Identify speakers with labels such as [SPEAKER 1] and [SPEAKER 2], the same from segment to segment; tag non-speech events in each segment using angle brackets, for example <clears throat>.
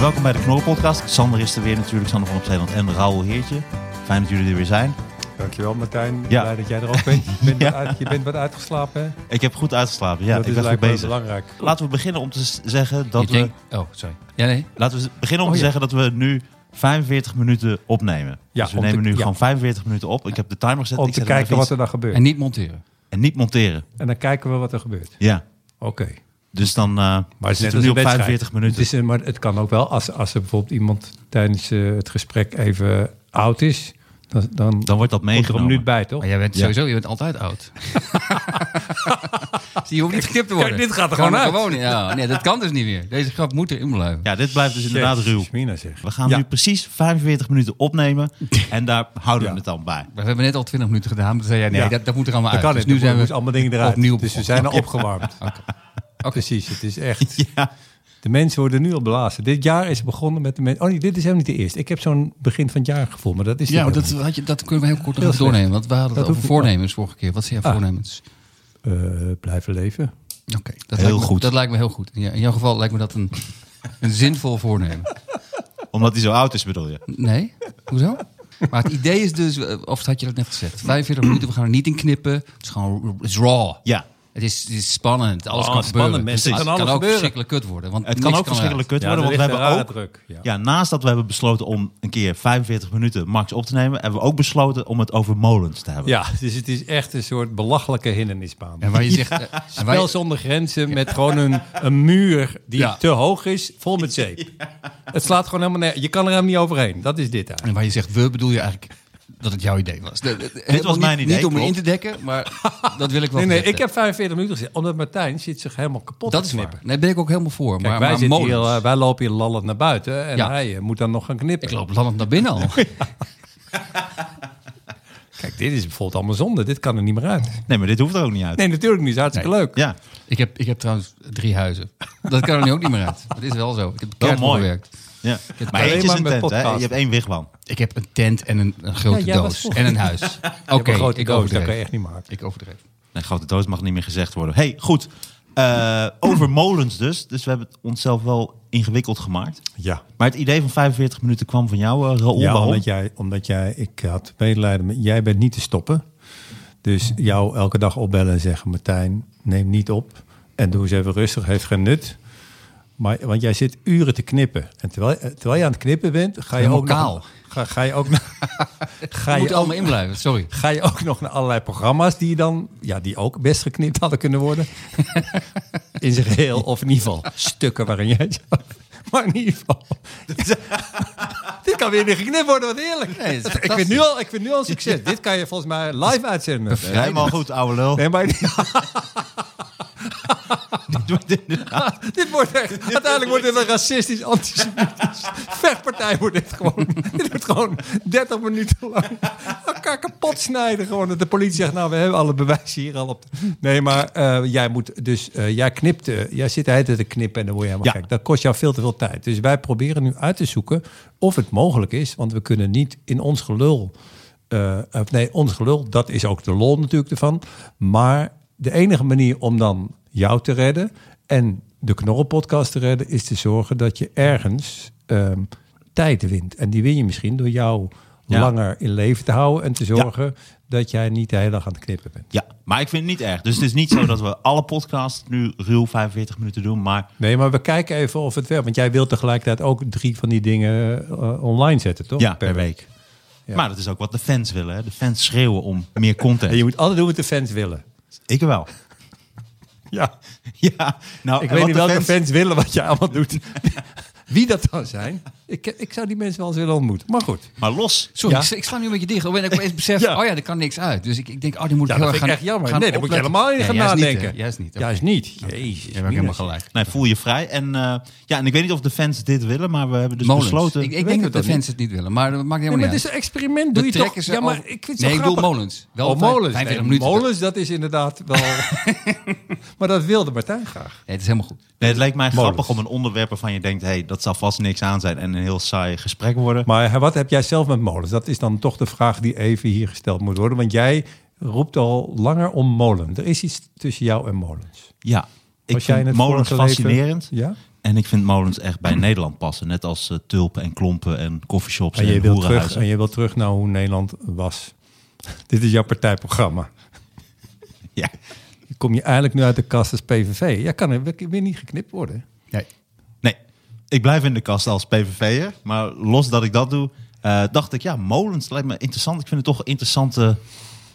[SPEAKER 1] Welkom bij de Knorrenpodcast. Sander is er weer natuurlijk, Sander van op Zeeland en Raoul Heertje. Fijn dat jullie er weer zijn.
[SPEAKER 2] Dankjewel Martijn.
[SPEAKER 1] Ja.
[SPEAKER 2] Blij dat jij er ook bent. Je bent,
[SPEAKER 1] <laughs> Ja.
[SPEAKER 2] wat, uit- je bent wat uitgeslapen. hè?
[SPEAKER 1] Ik heb goed uitgeslapen, ja,
[SPEAKER 2] dat
[SPEAKER 1] ik ben
[SPEAKER 2] is
[SPEAKER 1] goed
[SPEAKER 2] lijkt me
[SPEAKER 1] bezig.
[SPEAKER 2] belangrijk.
[SPEAKER 1] Laten we beginnen om te s- zeggen dat
[SPEAKER 3] Ik denk-
[SPEAKER 1] we,
[SPEAKER 3] Oh, sorry. Ja, nee.
[SPEAKER 1] laten we beginnen om
[SPEAKER 2] Oh,
[SPEAKER 1] te
[SPEAKER 2] ja.
[SPEAKER 1] zeggen dat we nu 45 minuten opnemen.
[SPEAKER 2] Ja,
[SPEAKER 1] dus we
[SPEAKER 2] om te-
[SPEAKER 1] nemen nu
[SPEAKER 2] ja.
[SPEAKER 1] gewoon 45 minuten op. Ik heb de timer gezet.
[SPEAKER 2] Om
[SPEAKER 1] ik
[SPEAKER 2] te
[SPEAKER 1] zet hem
[SPEAKER 2] kijken
[SPEAKER 1] even
[SPEAKER 2] wat
[SPEAKER 1] iets-
[SPEAKER 2] er dan gebeurt.
[SPEAKER 3] En
[SPEAKER 2] En,
[SPEAKER 3] niet monteren.
[SPEAKER 1] En niet monteren.
[SPEAKER 2] dan kijken we wat er gebeurt.
[SPEAKER 1] Ja,
[SPEAKER 2] Oké.
[SPEAKER 1] dus dan eh
[SPEAKER 2] Maar het is net
[SPEAKER 1] zitten
[SPEAKER 2] als
[SPEAKER 1] we
[SPEAKER 2] een
[SPEAKER 1] nu op
[SPEAKER 2] wedstrijd.
[SPEAKER 1] 45 minuten.
[SPEAKER 2] Het is een- maar het kan ook wel, als, als er bijvoorbeeld iemand tijdens eh, het gesprek even oud is, dan, dan,
[SPEAKER 1] Dan wordt dat
[SPEAKER 2] komt er een
[SPEAKER 1] meegenomen.
[SPEAKER 2] minuut bij, toch?
[SPEAKER 3] Maar jij bent
[SPEAKER 1] Ja.
[SPEAKER 3] sowieso, je bent altijd <laughs> oud. Dus je hoeft niet geknipt te worden.
[SPEAKER 2] kijk, dit gaat er
[SPEAKER 3] Kan
[SPEAKER 2] gewoon uit.
[SPEAKER 3] gewoon- ja, nee, dat kan dus niet meer. Deze grap moet erin blijven.
[SPEAKER 1] Ja, dit blijft dus inderdaad
[SPEAKER 2] Jezus,
[SPEAKER 1] ruw.
[SPEAKER 2] Mina zeg.
[SPEAKER 1] We gaan
[SPEAKER 2] Ja.
[SPEAKER 1] nu precies 45 minuten
[SPEAKER 2] <laughs>
[SPEAKER 1] opnemen en daar houden we
[SPEAKER 2] Ja.
[SPEAKER 1] het dan bij.
[SPEAKER 3] Maar We hebben net al 20 minuten gedaan. maar Toen zei jij, nee,
[SPEAKER 2] Ja.
[SPEAKER 3] dat, dat moet er allemaal
[SPEAKER 2] Dan
[SPEAKER 3] uit.
[SPEAKER 2] kan
[SPEAKER 3] dus
[SPEAKER 2] het.
[SPEAKER 3] nu zijn we
[SPEAKER 2] allemaal dingen eruit.
[SPEAKER 3] opnieuw
[SPEAKER 2] dus we
[SPEAKER 3] begonnen.
[SPEAKER 2] zijn al
[SPEAKER 3] <laughs>
[SPEAKER 2] opgewarmd. Precies, het is echt... De mensen worden nu al belazen. Dit jaar is begonnen met de mensen... Oh nee, dit is helemaal niet de eerste. Ik heb zo'n begin van het jaar gevoel, maar dat is
[SPEAKER 3] Ja, maar
[SPEAKER 2] niet
[SPEAKER 3] dat, had je, dat kunnen we heel kort nog
[SPEAKER 2] Heel
[SPEAKER 3] even doornemen. Want we hadden
[SPEAKER 2] Dat
[SPEAKER 3] het over
[SPEAKER 2] hoeft niet.
[SPEAKER 3] voornemens vorige keer. Wat zijn jouw
[SPEAKER 2] Ah.
[SPEAKER 3] voornemens?
[SPEAKER 2] Eh, blijven leven.
[SPEAKER 3] Oké, dat,
[SPEAKER 1] Heel
[SPEAKER 3] lijkt me-
[SPEAKER 1] goed.
[SPEAKER 3] dat lijkt me heel goed. Ja, in jouw geval lijkt me dat een, <laughs> een zinvol voornemen.
[SPEAKER 1] Omdat hij zo oud is, bedoel je?
[SPEAKER 3] Nee? Hoezo? Maar het idee is dus, eh, of had je dat net gezegd? 45 minuten, we gaan er niet in knippen. Het is gewoon het is raw.
[SPEAKER 1] Ja.
[SPEAKER 3] Het is, het is spannend. Alles
[SPEAKER 1] Oh,
[SPEAKER 3] kan
[SPEAKER 1] spannend,
[SPEAKER 3] gebeuren.
[SPEAKER 1] mensen.
[SPEAKER 3] Het
[SPEAKER 1] Het
[SPEAKER 3] kan,
[SPEAKER 1] kan
[SPEAKER 3] ook
[SPEAKER 1] alles gebeuren.
[SPEAKER 3] verschrikkelijk kut worden. Want
[SPEAKER 1] Het kan
[SPEAKER 3] niks
[SPEAKER 1] ook verschrikkelijk kut
[SPEAKER 2] Ja,
[SPEAKER 1] worden,
[SPEAKER 2] er
[SPEAKER 1] want we
[SPEAKER 2] ligt een
[SPEAKER 1] hebben ook...
[SPEAKER 2] rare druk, ja.
[SPEAKER 1] Ja, naast dat we hebben besloten om een keer 45 minuten max op te nemen... hebben we ook besloten om het over molens te hebben.
[SPEAKER 2] Ja, dus het is echt een soort belachelijke hindernisbaan.
[SPEAKER 3] En waar je zegt... eh, en waar je-
[SPEAKER 2] Wel zonder grenzen met gewoon een, <laughs> een muur die
[SPEAKER 3] Ja.
[SPEAKER 2] te hoog is, vol
[SPEAKER 3] <laughs>
[SPEAKER 2] met zeep. Het slaat gewoon helemaal neer. Je kan er helemaal niet overheen. Dat is dit eigenlijk.
[SPEAKER 3] en waar je zegt we, bedoel je eigenlijk dat het jouw idee was. Dit
[SPEAKER 1] was mijn idee,
[SPEAKER 3] Niet om me
[SPEAKER 1] klopt.
[SPEAKER 3] in te dekken,
[SPEAKER 1] <laughs>
[SPEAKER 3] maar dat wil ik wel
[SPEAKER 2] Nee, nee,
[SPEAKER 3] gezegd
[SPEAKER 2] ik heb 45 minuten gezegd, omdat Martijn zit zich helemaal kapot
[SPEAKER 3] Dat
[SPEAKER 2] te
[SPEAKER 3] is
[SPEAKER 2] knippen.
[SPEAKER 3] waar. Nee, ben ik ook helemaal voor.
[SPEAKER 2] Kijk,
[SPEAKER 3] maar,
[SPEAKER 2] wij,
[SPEAKER 3] maar
[SPEAKER 2] zitten hier,
[SPEAKER 3] molens.
[SPEAKER 2] eh, wij lopen hier lallend naar buiten en
[SPEAKER 3] Ja.
[SPEAKER 2] hij eh, moet dan nog gaan knippen.
[SPEAKER 3] Ik loop landend naar
[SPEAKER 1] <laughs>
[SPEAKER 3] binnen al.
[SPEAKER 2] Kijk, dit is bijvoorbeeld allemaal zonde. Dit kan er niet meer uit.
[SPEAKER 1] Nee, maar dit hoeft er ook niet uit.
[SPEAKER 2] Nee, natuurlijk niet. Het is hartstikke
[SPEAKER 3] Nee.
[SPEAKER 2] leuk.
[SPEAKER 1] Ja,
[SPEAKER 3] Ik heb, ik heb trouwens drie huizen. Dat kan er nu ook niet meer uit. Dat is wel zo. Ik heb
[SPEAKER 1] wel
[SPEAKER 3] keihard voor
[SPEAKER 1] mooi.
[SPEAKER 3] gewerkt.
[SPEAKER 1] Ja. Maar
[SPEAKER 2] alleen
[SPEAKER 1] eentje is
[SPEAKER 2] maar
[SPEAKER 1] een
[SPEAKER 2] met
[SPEAKER 1] tent, hè?
[SPEAKER 2] podcast.
[SPEAKER 1] Je hebt één wigwam.
[SPEAKER 3] Ik heb een tent en een, een grote
[SPEAKER 2] Ja, jij was
[SPEAKER 3] doos.
[SPEAKER 2] voor.
[SPEAKER 3] En een
[SPEAKER 2] <laughs>
[SPEAKER 3] huis. Oké,
[SPEAKER 2] Een grote
[SPEAKER 3] ik
[SPEAKER 2] doos, dat kan je
[SPEAKER 3] overdreef.
[SPEAKER 2] echt niet maken.
[SPEAKER 3] Ik overdreef.
[SPEAKER 1] Nee, grote doos mag niet meer gezegd worden. hey, goed. Eh, over <clears throat> molens dus. Dus we hebben het onszelf wel ingewikkeld gemaakt.
[SPEAKER 2] Ja.
[SPEAKER 1] Maar het idee van 45 minuten kwam van jou, eh Raoul.
[SPEAKER 2] Ja,
[SPEAKER 1] Waarom?
[SPEAKER 2] omdat jij, omdat jij, ik had medelijden met, jij bent niet te stoppen. Dus jou elke dag opbellen en zeggen, Martijn, neem niet op. En doe eens even rustig, heeft geen nut. Maar, want jij zit uren te knippen. En terwijl, eh, terwijl je aan het knippen bent, ga je
[SPEAKER 3] Helemaal
[SPEAKER 2] ook nog-
[SPEAKER 3] kaal.
[SPEAKER 2] ga, ga je ook
[SPEAKER 3] <laughs>
[SPEAKER 2] nog- ga
[SPEAKER 3] Moet
[SPEAKER 2] je
[SPEAKER 3] er
[SPEAKER 2] ook,
[SPEAKER 3] allemaal in blijven, sorry.
[SPEAKER 2] ga je ook nog naar allerlei programma's die je dan, ja, die ook best geknipt hadden kunnen
[SPEAKER 3] <laughs>
[SPEAKER 2] worden. In zijn geheel, of in ieder geval stukken waarin jij zou- Maar in ieder
[SPEAKER 3] <laughs>
[SPEAKER 2] geval. Dit kan weer niet geknipt worden, wat eerlijk.
[SPEAKER 3] Nee, het is
[SPEAKER 2] ik, vind nu al, ik vind nu al een succes. Dit kan je volgens mij live uitzenden.
[SPEAKER 1] Helemaal goed, ouwe lul.
[SPEAKER 2] Nee, maar <laughs> dit wordt echt, uiteindelijk wordt dit een racistisch, antisemitisch <laughs> vechtpartij. Wordt dit gewoon. <laughs> Dit wordt gewoon 30 minuten lang elkaar kapot snijden. Gewoon dat de politie zegt, nou, we hebben alle bewijzen hier al op. Nee, maar eh, jij moet dus, eh, jij knipt, eh, jij zit de hele tijd te knippen en dan word je helemaal
[SPEAKER 1] Ja.
[SPEAKER 2] gek. Dat kost jou veel te veel tijd. Dus wij proberen nu uit te zoeken of het mogelijk is, want we kunnen niet in ons gelul, eh, of nee, ons gelul, dat is ook de lol natuurlijk ervan. Maar de enige manier om dan jou te redden en de Knorrelpodcast te redden, is te zorgen dat je ergens ehm, tijd wint. En die win je misschien door jou
[SPEAKER 1] Ja.
[SPEAKER 2] langer in leven te houden en te zorgen dat jij niet de hele dag aan het knippen bent.
[SPEAKER 1] <laughs> Ja, maar ik vind het niet erg. Dus het is niet zo dat we alle podcasts nu ruw 45 minuten doen. Maar
[SPEAKER 2] Nee, maar we kijken even of het werkt. Want jij wilt tegelijkertijd ook drie van die dingen eh, online zetten, toch?
[SPEAKER 1] ja, per week. Maar dat is ook wat de fans willen. Hè? De fans schreeuwen om meer content.
[SPEAKER 2] En je moet altijd doen wat de fans willen.
[SPEAKER 1] Ik wel.
[SPEAKER 2] <laughs> Ja.
[SPEAKER 1] <laughs> Ja, nou,
[SPEAKER 2] Ik
[SPEAKER 1] en
[SPEAKER 2] weet
[SPEAKER 1] wat
[SPEAKER 2] niet
[SPEAKER 1] de
[SPEAKER 2] welke
[SPEAKER 1] fans-
[SPEAKER 2] <laughs> fans... willen wat jij allemaal doet. Wie dat dan zijn, Ik, ik zou die mensen wel eens willen ontmoeten. Maar goed.
[SPEAKER 1] Maar los.
[SPEAKER 3] Sorry,
[SPEAKER 1] ja.
[SPEAKER 3] ik, ik sla nu een beetje dicht. En ik opeens besef,
[SPEAKER 2] Ja.
[SPEAKER 3] oh ja, er kan niks uit. Dus ik, ik denk, oh, die moet ik
[SPEAKER 2] Ja,
[SPEAKER 3] heel
[SPEAKER 2] dat
[SPEAKER 3] erg
[SPEAKER 2] vind
[SPEAKER 3] gaan
[SPEAKER 2] ik echt jammer.
[SPEAKER 3] gaan
[SPEAKER 2] nee, dan moet je
[SPEAKER 3] opletten.
[SPEAKER 2] helemaal niet gaan
[SPEAKER 3] Nee, juist
[SPEAKER 2] nadenken.
[SPEAKER 3] Niet, hè. juist niet. oké.
[SPEAKER 2] Juist niet.
[SPEAKER 3] Je
[SPEAKER 2] Jezus.
[SPEAKER 3] hebt ook helemaal gelijk.
[SPEAKER 1] Nee, voel je vrij. En eh, ja, en ik weet niet of de fans dit willen, maar we hebben dus
[SPEAKER 3] Molens.
[SPEAKER 1] besloten.
[SPEAKER 3] Ik, ik
[SPEAKER 2] Weet
[SPEAKER 3] denk
[SPEAKER 2] het
[SPEAKER 3] dat de
[SPEAKER 2] toch
[SPEAKER 3] fans het niet willen, maar dat maakt
[SPEAKER 2] Nee,
[SPEAKER 3] helemaal
[SPEAKER 2] maar het
[SPEAKER 3] niet
[SPEAKER 2] is
[SPEAKER 3] uit.
[SPEAKER 2] een experiment. Doe
[SPEAKER 3] We
[SPEAKER 2] je toch?
[SPEAKER 3] trekken ze
[SPEAKER 2] Ja, maar
[SPEAKER 3] over-
[SPEAKER 2] ik vind het
[SPEAKER 3] Nee,
[SPEAKER 2] zo
[SPEAKER 3] ik bedoel
[SPEAKER 2] grappig.
[SPEAKER 3] Molens. Wel
[SPEAKER 2] oh,
[SPEAKER 3] vijf-
[SPEAKER 2] molens.
[SPEAKER 3] 45
[SPEAKER 2] Nee,
[SPEAKER 3] minuten.
[SPEAKER 2] molens, dat is inderdaad wel... <laughs> maar dat wilde Martijn graag.
[SPEAKER 3] Nee, het is helemaal goed.
[SPEAKER 1] Nee, het lijkt mij
[SPEAKER 2] Molens.
[SPEAKER 1] grappig om een onderwerp waarvan je denkt, hey, dat zal vast niks aan zijn en een heel saai gesprek worden.
[SPEAKER 2] Maar hè, wat heb jij zelf met molens? Dat is dan toch de vraag die even hier gesteld moet worden. Want jij roept al langer om molen. Er is iets tussen jou en molens.
[SPEAKER 1] ja, ik
[SPEAKER 2] Was jij in
[SPEAKER 1] vind
[SPEAKER 2] het
[SPEAKER 1] molens
[SPEAKER 2] vorige leven-
[SPEAKER 1] fascinerend.
[SPEAKER 2] Ja?
[SPEAKER 1] En ik vind molens echt bij Nederland passen. Net als eh, tulpen en klompen en coffeeshops
[SPEAKER 2] En
[SPEAKER 1] en,
[SPEAKER 2] je, wilt terug,
[SPEAKER 1] hoerenhuizen.
[SPEAKER 2] en je wilt terug naar hoe Nederland was. <laughs> Dit is jouw partijprogramma.
[SPEAKER 1] Ja.
[SPEAKER 2] Kom je eigenlijk nu uit de kast als PVV? Ja, kan er weer niet geknipt worden.
[SPEAKER 3] Nee.
[SPEAKER 1] Nee, ik blijf in de kast als PVV'er. Maar los dat ik dat doe, eh, dacht ik, ja, molens lijkt me interessant. Ik vind het toch interessante...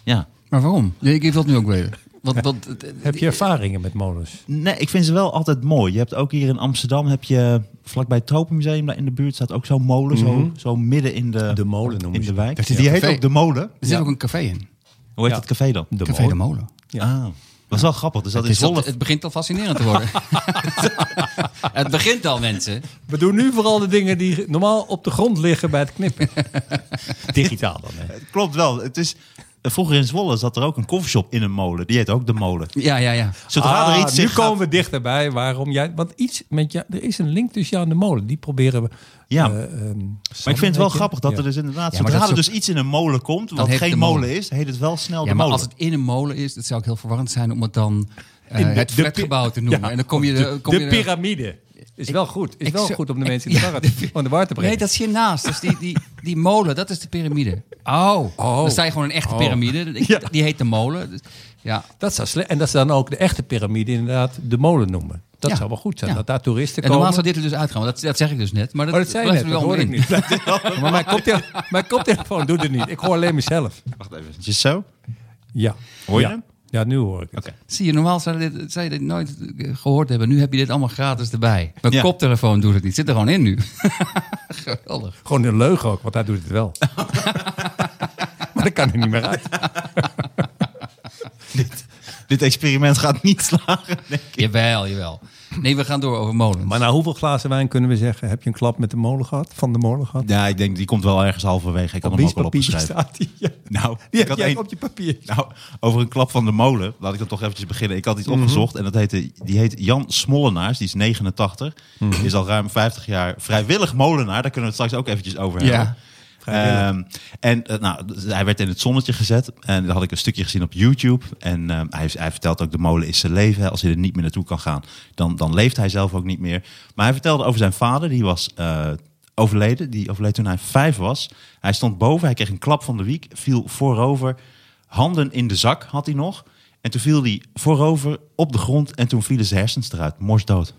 [SPEAKER 1] Ja.
[SPEAKER 3] Maar waarom? Nee, ik wil het nu ook weten. Wat, wat,
[SPEAKER 2] Heb je ervaringen met molens?
[SPEAKER 1] Nee, ik vind ze wel altijd mooi. Je hebt ook hier in Amsterdam, heb je vlakbij het Tropenmuseum, daar in de buurt staat ook zo'n molen. zo, zo midden in de,
[SPEAKER 2] Mhm. De molen noemen
[SPEAKER 1] in de
[SPEAKER 2] ze
[SPEAKER 1] wijk.
[SPEAKER 3] dat.
[SPEAKER 1] Die
[SPEAKER 3] Ja,
[SPEAKER 1] heet
[SPEAKER 3] café.
[SPEAKER 1] ook De Molen.
[SPEAKER 3] Er zit ook een café
[SPEAKER 2] Oh.
[SPEAKER 3] in.
[SPEAKER 1] Hoe heet
[SPEAKER 2] Ja.
[SPEAKER 1] het café dan?
[SPEAKER 2] De
[SPEAKER 3] Café de Molen.
[SPEAKER 1] Ah, dat is wel grappig. Dus dat
[SPEAKER 3] Het,
[SPEAKER 1] is
[SPEAKER 3] is al-
[SPEAKER 1] Zwolle.
[SPEAKER 3] het begint al fascinerend te
[SPEAKER 2] <laughs>
[SPEAKER 3] worden. <laughs> het begint al, mensen.
[SPEAKER 2] We doen nu vooral de dingen die normaal op de grond liggen bij het knippen. <laughs> Digitaal dan. Hè.
[SPEAKER 1] Klopt wel. Het is, vroeger in Zwolle zat er ook een koffieshop in een molen. Die heet ook De Molen.
[SPEAKER 3] Ja, ja, ja.
[SPEAKER 1] Zodra er
[SPEAKER 2] Ah,
[SPEAKER 1] iets
[SPEAKER 2] nu
[SPEAKER 1] zich gaat-
[SPEAKER 2] komen we dichterbij waarom jij... Want iets met jou, er is een link tussen jou en de molen. Die proberen we...
[SPEAKER 1] Ja.
[SPEAKER 2] eh, ehm,
[SPEAKER 1] Maar ik vind het wel
[SPEAKER 2] weet je?
[SPEAKER 1] grappig dat
[SPEAKER 2] Ja.
[SPEAKER 1] er dus inderdaad...
[SPEAKER 3] Ja, maar
[SPEAKER 1] zodra
[SPEAKER 3] dat
[SPEAKER 1] er
[SPEAKER 3] is
[SPEAKER 1] dus iets in een molen komt, wat
[SPEAKER 3] heet de
[SPEAKER 1] geen
[SPEAKER 3] molen.
[SPEAKER 1] molen is, heet het wel snel
[SPEAKER 3] Ja,
[SPEAKER 1] De
[SPEAKER 3] maar
[SPEAKER 1] Molen.
[SPEAKER 3] als het in een molen is, dat zou ik heel verwarrend zijn om het dan eh,
[SPEAKER 2] In de-
[SPEAKER 3] het
[SPEAKER 2] de pi-
[SPEAKER 3] flatgebouw te noemen.
[SPEAKER 2] Ja.
[SPEAKER 3] En dan kom je
[SPEAKER 2] De,
[SPEAKER 3] de, kom je
[SPEAKER 2] de
[SPEAKER 3] er-
[SPEAKER 2] piramide. Is wel goed. Is
[SPEAKER 3] ik
[SPEAKER 2] wel
[SPEAKER 3] zou-
[SPEAKER 2] goed om de
[SPEAKER 3] ik-
[SPEAKER 2] <laughs> mensen in de,
[SPEAKER 3] ja,
[SPEAKER 2] war,
[SPEAKER 3] de pi-
[SPEAKER 2] van de war te brengen.
[SPEAKER 3] Nee, dat is hiernaast. Dat is die, die, die molen, dat is de piramide. Oh, dan sta je gewoon een echte
[SPEAKER 2] Oh. <laughs>
[SPEAKER 3] piramide. Ik-
[SPEAKER 2] Ja.
[SPEAKER 3] Die heet de molen. Dus, ja.
[SPEAKER 2] Dat zou sle- en dat ze dan ook de echte piramide inderdaad de molen noemen. Dat
[SPEAKER 3] Ja.
[SPEAKER 2] zou wel goed zijn,
[SPEAKER 3] Ja.
[SPEAKER 2] dat daar toeristen
[SPEAKER 3] En
[SPEAKER 2] komen.
[SPEAKER 3] normaal zou dit er dus uitgaan, want dat, dat zeg ik dus net. Maar dat,
[SPEAKER 2] Oh, dat zei je
[SPEAKER 3] dat
[SPEAKER 2] net,
[SPEAKER 3] is
[SPEAKER 2] dat
[SPEAKER 3] wel
[SPEAKER 2] hoor ik
[SPEAKER 3] in.
[SPEAKER 2] niet. <laughs> maar mijn, koptele- mijn koptelefoon doet het niet. Ik hoor alleen mezelf.
[SPEAKER 1] Wacht even. Zo?
[SPEAKER 2] Ja.
[SPEAKER 1] Hoor je
[SPEAKER 2] ja.
[SPEAKER 1] hem?
[SPEAKER 2] Ja, nu hoor ik het.
[SPEAKER 1] Oké.
[SPEAKER 3] Zie je, normaal zou, dit, zou je dit nooit eh, gehoord hebben. Nu heb je dit allemaal gratis erbij. Mijn
[SPEAKER 1] Ja.
[SPEAKER 3] koptelefoon doet het niet. Zit er gewoon in nu. <laughs> Geweldig.
[SPEAKER 2] Gewoon een leugen ook, want hij doet het <laughs> wel. maar dat kan er niet meer uit.
[SPEAKER 1] <laughs> Dit experiment gaat niet slagen. Nee.
[SPEAKER 3] Jawel, jawel. Nee, we gaan door over molens.
[SPEAKER 2] Maar na hoeveel glazen wijn kunnen we zeggen... heb je een klap met de molen gehad, van de molen gehad?
[SPEAKER 1] Ja, ik denk, die komt wel ergens halverwege. Ik kan hem
[SPEAKER 2] wiens
[SPEAKER 1] ook al
[SPEAKER 2] papiertje
[SPEAKER 1] opgeschreven.
[SPEAKER 2] staat die? Ja.
[SPEAKER 1] Nou,
[SPEAKER 2] Die
[SPEAKER 1] ik
[SPEAKER 2] heb
[SPEAKER 1] had
[SPEAKER 2] jij
[SPEAKER 1] één-
[SPEAKER 2] op je papier.
[SPEAKER 1] Nou, over een klap van de molen. Laat ik dan toch eventjes beginnen. Ik had iets opgezocht en dat heette, die heet Jan Smollenaars. Die is 89. Is al ruim 50 jaar vrijwillig molenaar. Daar kunnen we het straks ook eventjes over
[SPEAKER 3] Ja.
[SPEAKER 1] hebben. Ehm, en eh, nou, d- hij werd in het zonnetje gezet. En daar had ik een stukje gezien op YouTube. En ehm, hij, hij vertelt ook, de molen is zijn leven. hè. Als hij er niet meer naartoe kan gaan, dan, dan leeft hij zelf ook niet meer. Maar hij vertelde over zijn vader, die was eh, overleden. Die overleed toen hij vijf was. Hij stond boven, hij kreeg een klap van de wiek, viel voorover. Handen in de zak had hij nog. En toen viel hij voorover op de grond en toen vielen zijn hersens eruit. Morsdood.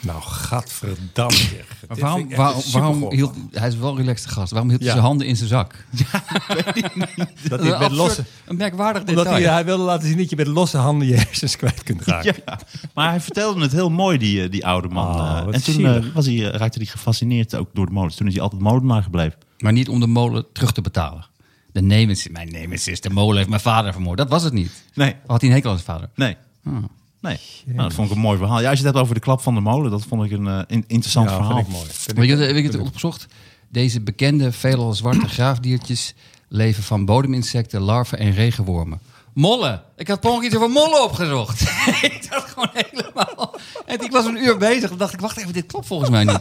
[SPEAKER 2] Nou, gadverdamme. zeg.
[SPEAKER 3] Maar
[SPEAKER 2] Dit
[SPEAKER 3] waarom,
[SPEAKER 2] vind ik echt
[SPEAKER 3] waarom,
[SPEAKER 2] een
[SPEAKER 3] waarom
[SPEAKER 2] supergoor.
[SPEAKER 3] hield hij is wel een relaxte gast? Waarom hield hij
[SPEAKER 2] Ja.
[SPEAKER 3] zijn handen in zijn zak?
[SPEAKER 2] dat hij met
[SPEAKER 3] een, absurd-
[SPEAKER 2] losse,
[SPEAKER 3] een merkwaardig
[SPEAKER 2] omdat hij,
[SPEAKER 3] detail.
[SPEAKER 2] hij wilde laten zien dat je met losse handen je hersens kwijt kunt raken.
[SPEAKER 1] Ja, maar hij vertelde het heel mooi, die, eh, die oude man.
[SPEAKER 2] Oh,
[SPEAKER 1] Eh,
[SPEAKER 2] wat
[SPEAKER 1] en toen
[SPEAKER 2] zielig.
[SPEAKER 1] eh, was hij, eh, raakte hij gefascineerd ook door de molens. Toen is hij altijd molenaar gebleven.
[SPEAKER 3] Maar niet om de molen terug te betalen. De nemens, mijn nemens is de molen heeft mijn vader vermoord. Dat was het niet.
[SPEAKER 1] Nee,
[SPEAKER 3] Had hij een hekel aan zijn vader?
[SPEAKER 1] nee. Nee, nou, dat vond ik een mooi verhaal. Ja, als je het hebt over de klap van de molen, dat vond ik een eh, in- interessant
[SPEAKER 2] Ja,
[SPEAKER 1] verhaal.
[SPEAKER 2] vind ik mooi. Vind
[SPEAKER 3] Weet je, wat- heb ik het opgezocht? Deze bekende, veelal zwarte graafdiertjes leven van bodeminsecten, larven en regenwormen. Mollen! Ik had per ongeluk iets over mollen opgezocht. <laughs> ik dacht gewoon helemaal... En ik was een uur bezig. Toen dacht ik, wacht even, dit klopt volgens mij niet.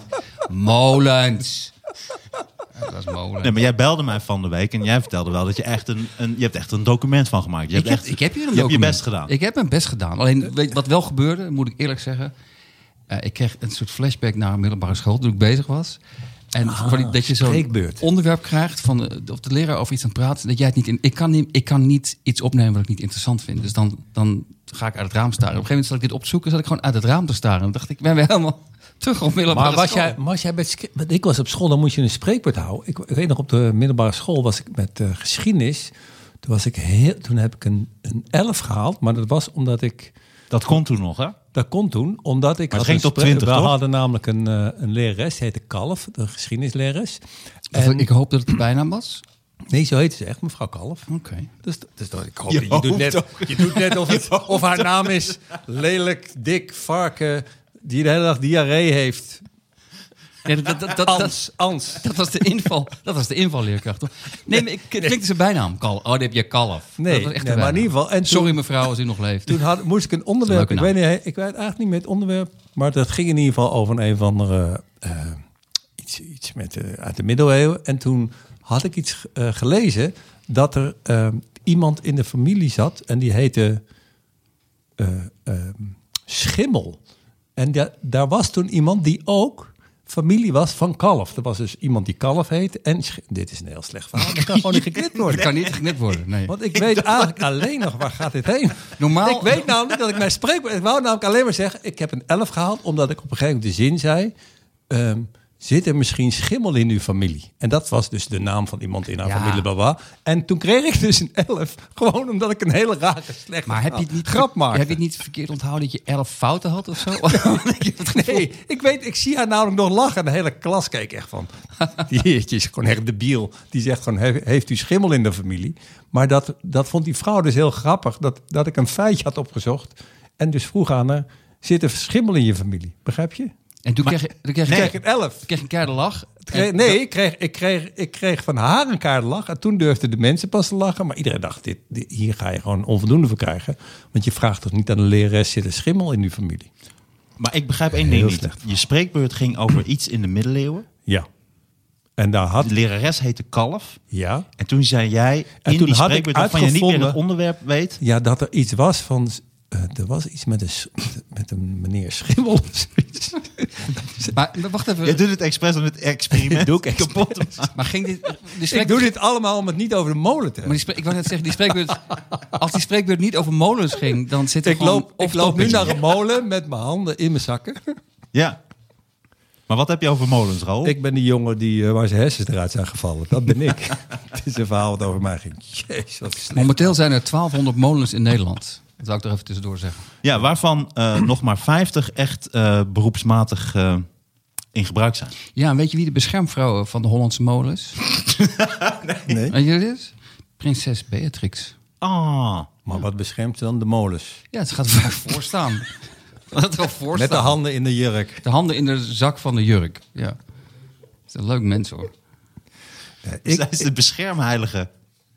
[SPEAKER 3] Molens. Dat was molen.
[SPEAKER 1] Nee, maar jij belde mij van de week en jij vertelde wel dat je echt een, een je hebt echt een document van gemaakt. Je hebt
[SPEAKER 3] ik, heb,
[SPEAKER 1] echt,
[SPEAKER 3] ik heb hier een
[SPEAKER 1] je, hebt je
[SPEAKER 3] document.
[SPEAKER 1] best gedaan.
[SPEAKER 3] Ik heb mijn best gedaan. Alleen weet, je wat wel gebeurde, moet ik eerlijk zeggen. Eh, ik kreeg een soort flashback naar middelbare school toen ik bezig was. En van die- dat je zo'n
[SPEAKER 2] spreekbeurt.
[SPEAKER 3] onderwerp krijgt van eh, of de leraar over iets aan het praten. Dat jij het niet in. Ik kan niet, ik kan niet iets opnemen wat ik niet interessant vind. Dus dan, dan ga ik uit het raam staren. Op een gegeven moment zat ik dit opzoeken, zat ik gewoon uit het raam te staren. En dan dacht ik, ben weer helemaal <laughs> terug op middelbare
[SPEAKER 2] Maar was
[SPEAKER 3] school.
[SPEAKER 2] jij, was jij bij ske- want ik was op school, dan moest je een spreekwoord houden. Ik, ik weet nog, op de middelbare school was ik met eh, geschiedenis. Toen, was ik heel, toen heb ik een, een elf gehaald, maar dat was omdat ik...
[SPEAKER 1] Dat kon toen nog, hè?
[SPEAKER 2] Dat kon toen, omdat ik...
[SPEAKER 1] Maar het
[SPEAKER 2] had
[SPEAKER 1] ging
[SPEAKER 2] een
[SPEAKER 1] tot
[SPEAKER 2] spre-
[SPEAKER 1] 20,
[SPEAKER 2] We
[SPEAKER 1] toch?
[SPEAKER 2] hadden namelijk een, eh, een lerares, die heette Kalf, de geschiedenislerares.
[SPEAKER 3] Of Ik hoop dat het de bijnaam was.
[SPEAKER 2] Nee, zo heette ze echt, mevrouw Kalf.
[SPEAKER 3] Oké.
[SPEAKER 2] Dus, dus dat, ik hoop,
[SPEAKER 1] Je
[SPEAKER 2] dat- je, doet
[SPEAKER 1] hoopt
[SPEAKER 2] net, je doet net of, het- of haar naam is lelijk, dik, varken, die de hele dag diarree heeft.
[SPEAKER 3] Ja, dat, dat, dat, dat,
[SPEAKER 2] Ans, ans.
[SPEAKER 3] dat was de inval. Dat was de invalleerkracht. toch? Nee, maar ik het klinkt zijn bijnaam. Kal. Oh, dit heb je kalf.
[SPEAKER 2] Nee,
[SPEAKER 3] dat was echt
[SPEAKER 2] nee,
[SPEAKER 3] de
[SPEAKER 2] maar in
[SPEAKER 3] bijnaam.
[SPEAKER 2] ieder geval- en toen-
[SPEAKER 3] Sorry mevrouw als u nog leeft.
[SPEAKER 2] Toen had, moest ik een onderwerp.
[SPEAKER 3] Leuke
[SPEAKER 2] Ik
[SPEAKER 3] naam.
[SPEAKER 2] weet, niet, ik weet eigenlijk niet meer het onderwerp. Maar dat ging in ieder geval over een of andere. eh, iets iets met, eh, uit de middeleeuwen. En toen had ik iets eh, gelezen. dat er eh, iemand in de familie zat. en die heette. eh, eh, Schimmel. En da- daar was toen iemand die ook. Familie was van Kalf. Er was dus iemand die Kalf heet. En Sch- dit is een heel slecht verhaal. Dat kan gewoon niet geknipt worden.
[SPEAKER 3] Dat kan niet geknipt worden. Nee.
[SPEAKER 2] Want ik weet eigenlijk alleen nog waar gaat dit heen.
[SPEAKER 3] Normaal-
[SPEAKER 2] Ik weet namelijk dat ik mijn spreekwoord... Ik wou namelijk alleen maar zeggen, ik heb een 11 gehaald... omdat ik op een gegeven moment de zin zei... ehm, zit er misschien schimmel in uw familie? En dat was dus de naam van iemand in haar
[SPEAKER 3] Ja.
[SPEAKER 2] familie. Baba. En toen kreeg ik dus een 11. Gewoon omdat ik een hele rare slechte
[SPEAKER 3] Maar heb je het niet,
[SPEAKER 2] grap maakte.
[SPEAKER 3] Heb je het niet verkeerd onthouden dat je elf fouten
[SPEAKER 2] <laughs>
[SPEAKER 3] had of zo? <laughs> Ik heb het gevoel-
[SPEAKER 2] Nee, ik weet, ik zie haar namelijk nog lachen. En de hele klas keek echt van. <laughs> Die heertje is gewoon echt debiel. Die zegt gewoon, "He- heeft u schimmel in de familie? Maar dat, dat vond die vrouw dus heel grappig. Dat, dat ik een feitje had opgezocht. En dus vroeg aan haar, zit er schimmel in je familie? Begrijp je?
[SPEAKER 3] En toen kreeg je- toen kreeg je
[SPEAKER 2] Ik
[SPEAKER 3] toen
[SPEAKER 2] kreeg een elf.
[SPEAKER 3] kreeg je een keiharde lach.
[SPEAKER 2] Ik kreeg- nee, ik kreeg, ik, kreeg, ik kreeg van haar een kaartlach. En toen durfden de mensen pas te lachen. Maar iedereen dacht, dit, dit- hier ga je gewoon onvoldoende voor krijgen. Want je vraagt toch niet aan de lerares, zit er schimmel in uw familie?
[SPEAKER 1] Maar ik begrijp één ding
[SPEAKER 2] Heel
[SPEAKER 1] niet.
[SPEAKER 2] slecht.
[SPEAKER 1] Je spreekbeurt ging over iets in de middeleeuwen.
[SPEAKER 2] Ja. En daar had...
[SPEAKER 1] De lerares heette Kalf.
[SPEAKER 2] Ja.
[SPEAKER 1] En toen zei jij,
[SPEAKER 2] En
[SPEAKER 1] in
[SPEAKER 2] toen
[SPEAKER 1] die
[SPEAKER 2] had ik
[SPEAKER 1] spreekbeurt waarvan je niet meer het
[SPEAKER 2] uitgevonden-
[SPEAKER 1] onderwerp
[SPEAKER 2] <laughs>
[SPEAKER 1] weet...
[SPEAKER 2] Ja, dat er iets was van. eh, er was iets met een, s- <coughs> met een meneer Schimmel of zoiets.
[SPEAKER 3] Maar maar wacht even.
[SPEAKER 1] Je
[SPEAKER 2] dus-
[SPEAKER 1] doet het expres om het <laughs> experiment
[SPEAKER 2] Doe ik expres.
[SPEAKER 1] kapot te maken.
[SPEAKER 3] Maar
[SPEAKER 2] <laughs>
[SPEAKER 3] ging dit... Die
[SPEAKER 2] Ik
[SPEAKER 3] spreek,
[SPEAKER 2] doe dit allemaal om het niet over de molen te
[SPEAKER 3] maar die
[SPEAKER 2] hebben.
[SPEAKER 3] spreek, ik wou net zeggen, die
[SPEAKER 2] <laughs>
[SPEAKER 3] spreekbeurt, als die spreekbeurt niet over molens ging, dan zit er
[SPEAKER 2] Ik
[SPEAKER 3] gewoon...
[SPEAKER 2] loop, ik
[SPEAKER 3] off
[SPEAKER 2] loop nu
[SPEAKER 3] topic.
[SPEAKER 2] naar een molen met mijn handen in mijn zakken.
[SPEAKER 1] Ja. Maar wat heb je over molens, Raoul?
[SPEAKER 2] Ik ben die jongen die, eh, waar zijn hersens eruit zijn gevallen. Dat ben ik. <laughs> Het is een verhaal wat over mij ging. Jezus, wat slecht.
[SPEAKER 3] Momenteel zijn er 1200 molens in Nederland. Dat zou ik er even tussendoor zeggen.
[SPEAKER 1] Ja, waarvan eh, <clears throat> nog maar 50 echt eh, beroepsmatig eh, in gebruik zijn.
[SPEAKER 3] Ja, en weet je wie de beschermvrouw van de
[SPEAKER 2] <laughs>
[SPEAKER 3] Hollandse molens? nee. Weet je wie dat is? Prinses Beatrix.
[SPEAKER 1] Ah,
[SPEAKER 2] Maar wat beschermt ze dan? De molens.
[SPEAKER 3] Ja, het gaat vaak <laughs> voorstaan. Dat wel voorstaan.
[SPEAKER 2] Met de handen in de jurk.
[SPEAKER 3] De handen in de zak van de jurk. Ja. Dat is een leuk mens hoor.
[SPEAKER 1] zij is de beschermheilige.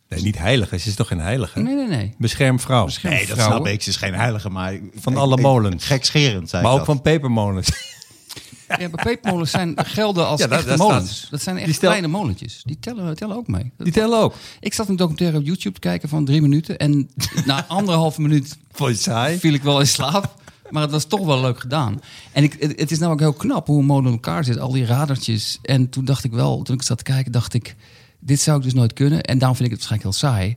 [SPEAKER 2] Nee, niet heilige. Ze is toch geen heilige?
[SPEAKER 3] Nee, nee, nee.
[SPEAKER 2] Beschermvrouw.
[SPEAKER 1] Nee, dat
[SPEAKER 3] vrouwen.
[SPEAKER 1] snap ik. Ze is geen heilige, maar...
[SPEAKER 2] Van
[SPEAKER 1] ik-
[SPEAKER 2] alle
[SPEAKER 1] ik-
[SPEAKER 2] molens.
[SPEAKER 1] Gekscherend, zei
[SPEAKER 2] Maar
[SPEAKER 1] ik
[SPEAKER 2] ook
[SPEAKER 1] dat.
[SPEAKER 2] van pepermolens. <laughs>
[SPEAKER 3] Ja, maar pepermolens zijn, gelden als
[SPEAKER 2] Ja, dat-
[SPEAKER 3] echte
[SPEAKER 2] daar
[SPEAKER 3] molens.
[SPEAKER 2] staat-
[SPEAKER 3] Dat zijn echt
[SPEAKER 2] die stel-
[SPEAKER 3] kleine molentjes. Die tellen, tellen ook mee. Dat-
[SPEAKER 2] Die tellen ook.
[SPEAKER 3] Ik zat een documentaire op YouTube te kijken van drie minuten. En na anderhalf minuut
[SPEAKER 2] Vond je het saai?
[SPEAKER 3] viel ik wel in slaap. Maar het was toch wel leuk gedaan. En ik, het, het is namelijk heel knap hoe een molen in elkaar zit. Al die radertjes. En toen dacht ik wel, toen ik zat te kijken, dacht ik... Dit zou ik dus nooit kunnen. En daarom vind ik het waarschijnlijk heel saai.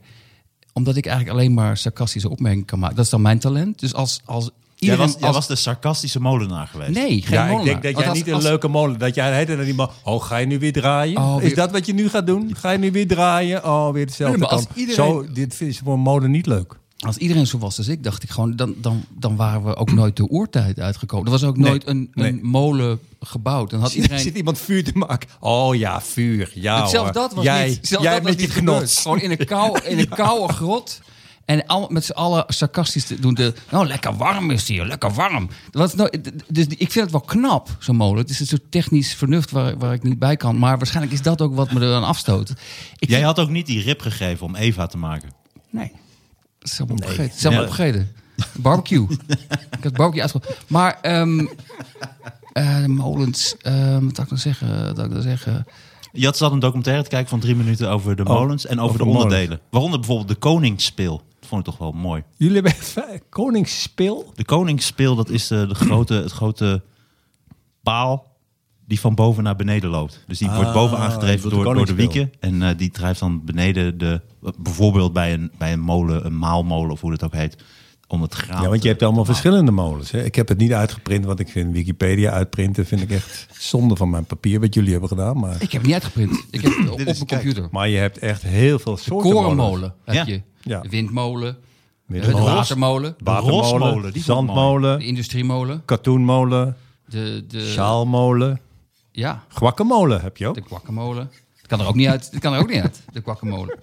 [SPEAKER 3] Omdat ik eigenlijk alleen maar sarcastische opmerkingen kan maken. Dat is dan mijn talent. Dus als... als
[SPEAKER 1] Jij
[SPEAKER 3] iedereen-
[SPEAKER 1] was, jij
[SPEAKER 3] als-
[SPEAKER 1] was de sarcastische molenaar geweest.
[SPEAKER 3] Nee, geen
[SPEAKER 2] ja, ik
[SPEAKER 3] molenaar.
[SPEAKER 2] denk dat
[SPEAKER 3] Want
[SPEAKER 2] jij
[SPEAKER 3] als-
[SPEAKER 2] niet een
[SPEAKER 3] als-
[SPEAKER 2] leuke molen... Dat jij heet en dan iemand... Oh, ga je nu weer draaien?
[SPEAKER 3] Oh, weer-
[SPEAKER 2] Is dat wat je nu gaat doen? Ga je nu weer draaien? Oh, weer hetzelfde
[SPEAKER 3] Nee, maar als
[SPEAKER 2] kamp.
[SPEAKER 3] iedereen-
[SPEAKER 2] Zo, dit is voor een molen niet leuk.
[SPEAKER 3] Als iedereen zo was als ik, dacht ik gewoon... Dan, dan, dan waren we ook nooit de oertijd uitgekomen. Er was ook nooit een, een
[SPEAKER 2] nee.
[SPEAKER 3] molen gebouwd. Dan had
[SPEAKER 2] Er
[SPEAKER 3] iedereen...
[SPEAKER 2] zit <laughs> iemand vuur te maken. Oh ja, vuur. Ja
[SPEAKER 3] Dat- zelfs
[SPEAKER 2] hoor.
[SPEAKER 3] dat was
[SPEAKER 2] Oh, eh, jij,
[SPEAKER 3] niet, zelfs
[SPEAKER 2] jij
[SPEAKER 3] dat was
[SPEAKER 2] met
[SPEAKER 3] niet
[SPEAKER 2] je
[SPEAKER 3] gebeurd.
[SPEAKER 2] knots.
[SPEAKER 3] Gewoon in een, kou, in een koude grot. En al, met z'n allen sarcastisch te doen. De, nou, lekker warm is het hier, lekker warm. Dat was nou, d- dus die- ik vind het wel knap, zo'n molen. Het is een soort technisch vernuft waar, waar ik niet bij kan. Maar waarschijnlijk is dat ook wat me er aan afstoot. Ik
[SPEAKER 1] Jij
[SPEAKER 3] vind-
[SPEAKER 1] had ook niet die rib gegeven om Eva te maken.
[SPEAKER 3] Nee. Dat is helemaal opgegeten. Dat is helemaal opgegeten. Barbecue. ik had barbecue uitgevoerd. Maar ehm eh, de molens, ehm, wat zou ik nou zeggen? Wat zou ik nou zeggen?
[SPEAKER 1] Je had zat een documentaire te kijken van drie minuten over de molens en over,
[SPEAKER 2] Oh, over
[SPEAKER 1] de
[SPEAKER 2] de molens.
[SPEAKER 1] onderdelen. Waaronder bijvoorbeeld de koningsspeel. Dat vond ik toch wel mooi.
[SPEAKER 2] <laughs> Jullie hebben vijf- koningsspil.
[SPEAKER 1] De koningsspeel, dat is
[SPEAKER 2] <clears throat>
[SPEAKER 1] eh, de grote, het grote paal die van boven naar beneden loopt. Dus die wordt boven
[SPEAKER 2] Ah, je
[SPEAKER 1] aangedreven
[SPEAKER 2] bedoelt
[SPEAKER 1] door,
[SPEAKER 2] de
[SPEAKER 1] door de
[SPEAKER 2] koningsspil.
[SPEAKER 1] wieken. En eh, die drijft dan beneden, de, bijvoorbeeld bij een, bij een molen, een maalmolen of hoe dat ook heet, om het graan.
[SPEAKER 2] Ja, want
[SPEAKER 1] te-
[SPEAKER 2] je hebt allemaal
[SPEAKER 1] te malen.
[SPEAKER 2] verschillende molens. Hè? Ik heb het niet uitgeprint, want ik vind Wikipedia uitprinten vind ik echt zonde van mijn papier wat jullie hebben gedaan. Maar,
[SPEAKER 3] Ik heb het niet uitgeprint. Ik heb het op
[SPEAKER 1] is-
[SPEAKER 3] mijn
[SPEAKER 1] kijk.
[SPEAKER 3] computer.
[SPEAKER 2] maar je hebt echt heel veel soorten molens.
[SPEAKER 3] Korenmolen heb
[SPEAKER 1] Ja.
[SPEAKER 3] je.
[SPEAKER 2] Ja.
[SPEAKER 3] Windmolen. eh, De
[SPEAKER 2] Middenmolen.
[SPEAKER 3] watermolen,
[SPEAKER 1] Rosmolen,
[SPEAKER 2] Watermolen,
[SPEAKER 1] die vond ik mooi.
[SPEAKER 3] de
[SPEAKER 2] zandmolen,
[SPEAKER 3] industriemolen,
[SPEAKER 2] katoenmolen,
[SPEAKER 3] de, de,
[SPEAKER 2] sjaalmolen,
[SPEAKER 3] ja,
[SPEAKER 2] guacamole heb je ook.
[SPEAKER 3] de kwakkemolen. Het kan er ook niet uit, het kan er ook niet uit de kwakkemolen.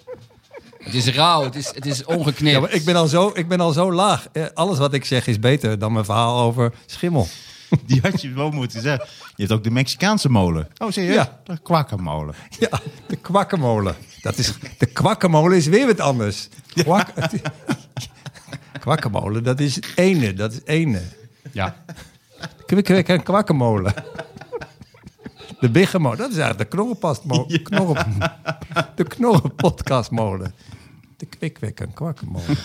[SPEAKER 3] Het is rauw, het is, het is ongeknipt.
[SPEAKER 2] Ja, maar ik ben al zo, ik ben al zo laag. Eh, Alles wat ik zeg is beter dan mijn verhaal over schimmel.
[SPEAKER 1] <laughs> Die had je wel moeten zeggen. Je hebt ook de Mexicaanse molen. Oh, zie je?
[SPEAKER 2] Ja.
[SPEAKER 1] De kwakkermolen.
[SPEAKER 2] Ja, de kwakkemolen. Dat is, de kwakkemolen is weer wat anders. Kwak, <laughs> kwakkemolen, dat is het ene, dat is het ene.
[SPEAKER 3] Ja.
[SPEAKER 2] Kwik, kwik en kwakkemolen. <laughs> De biggemolen, dat is eigenlijk de knorrenpastmolen. <laughs> de knorrenpodcastmolen. De kwikwik en <laughs> kwakkemolen.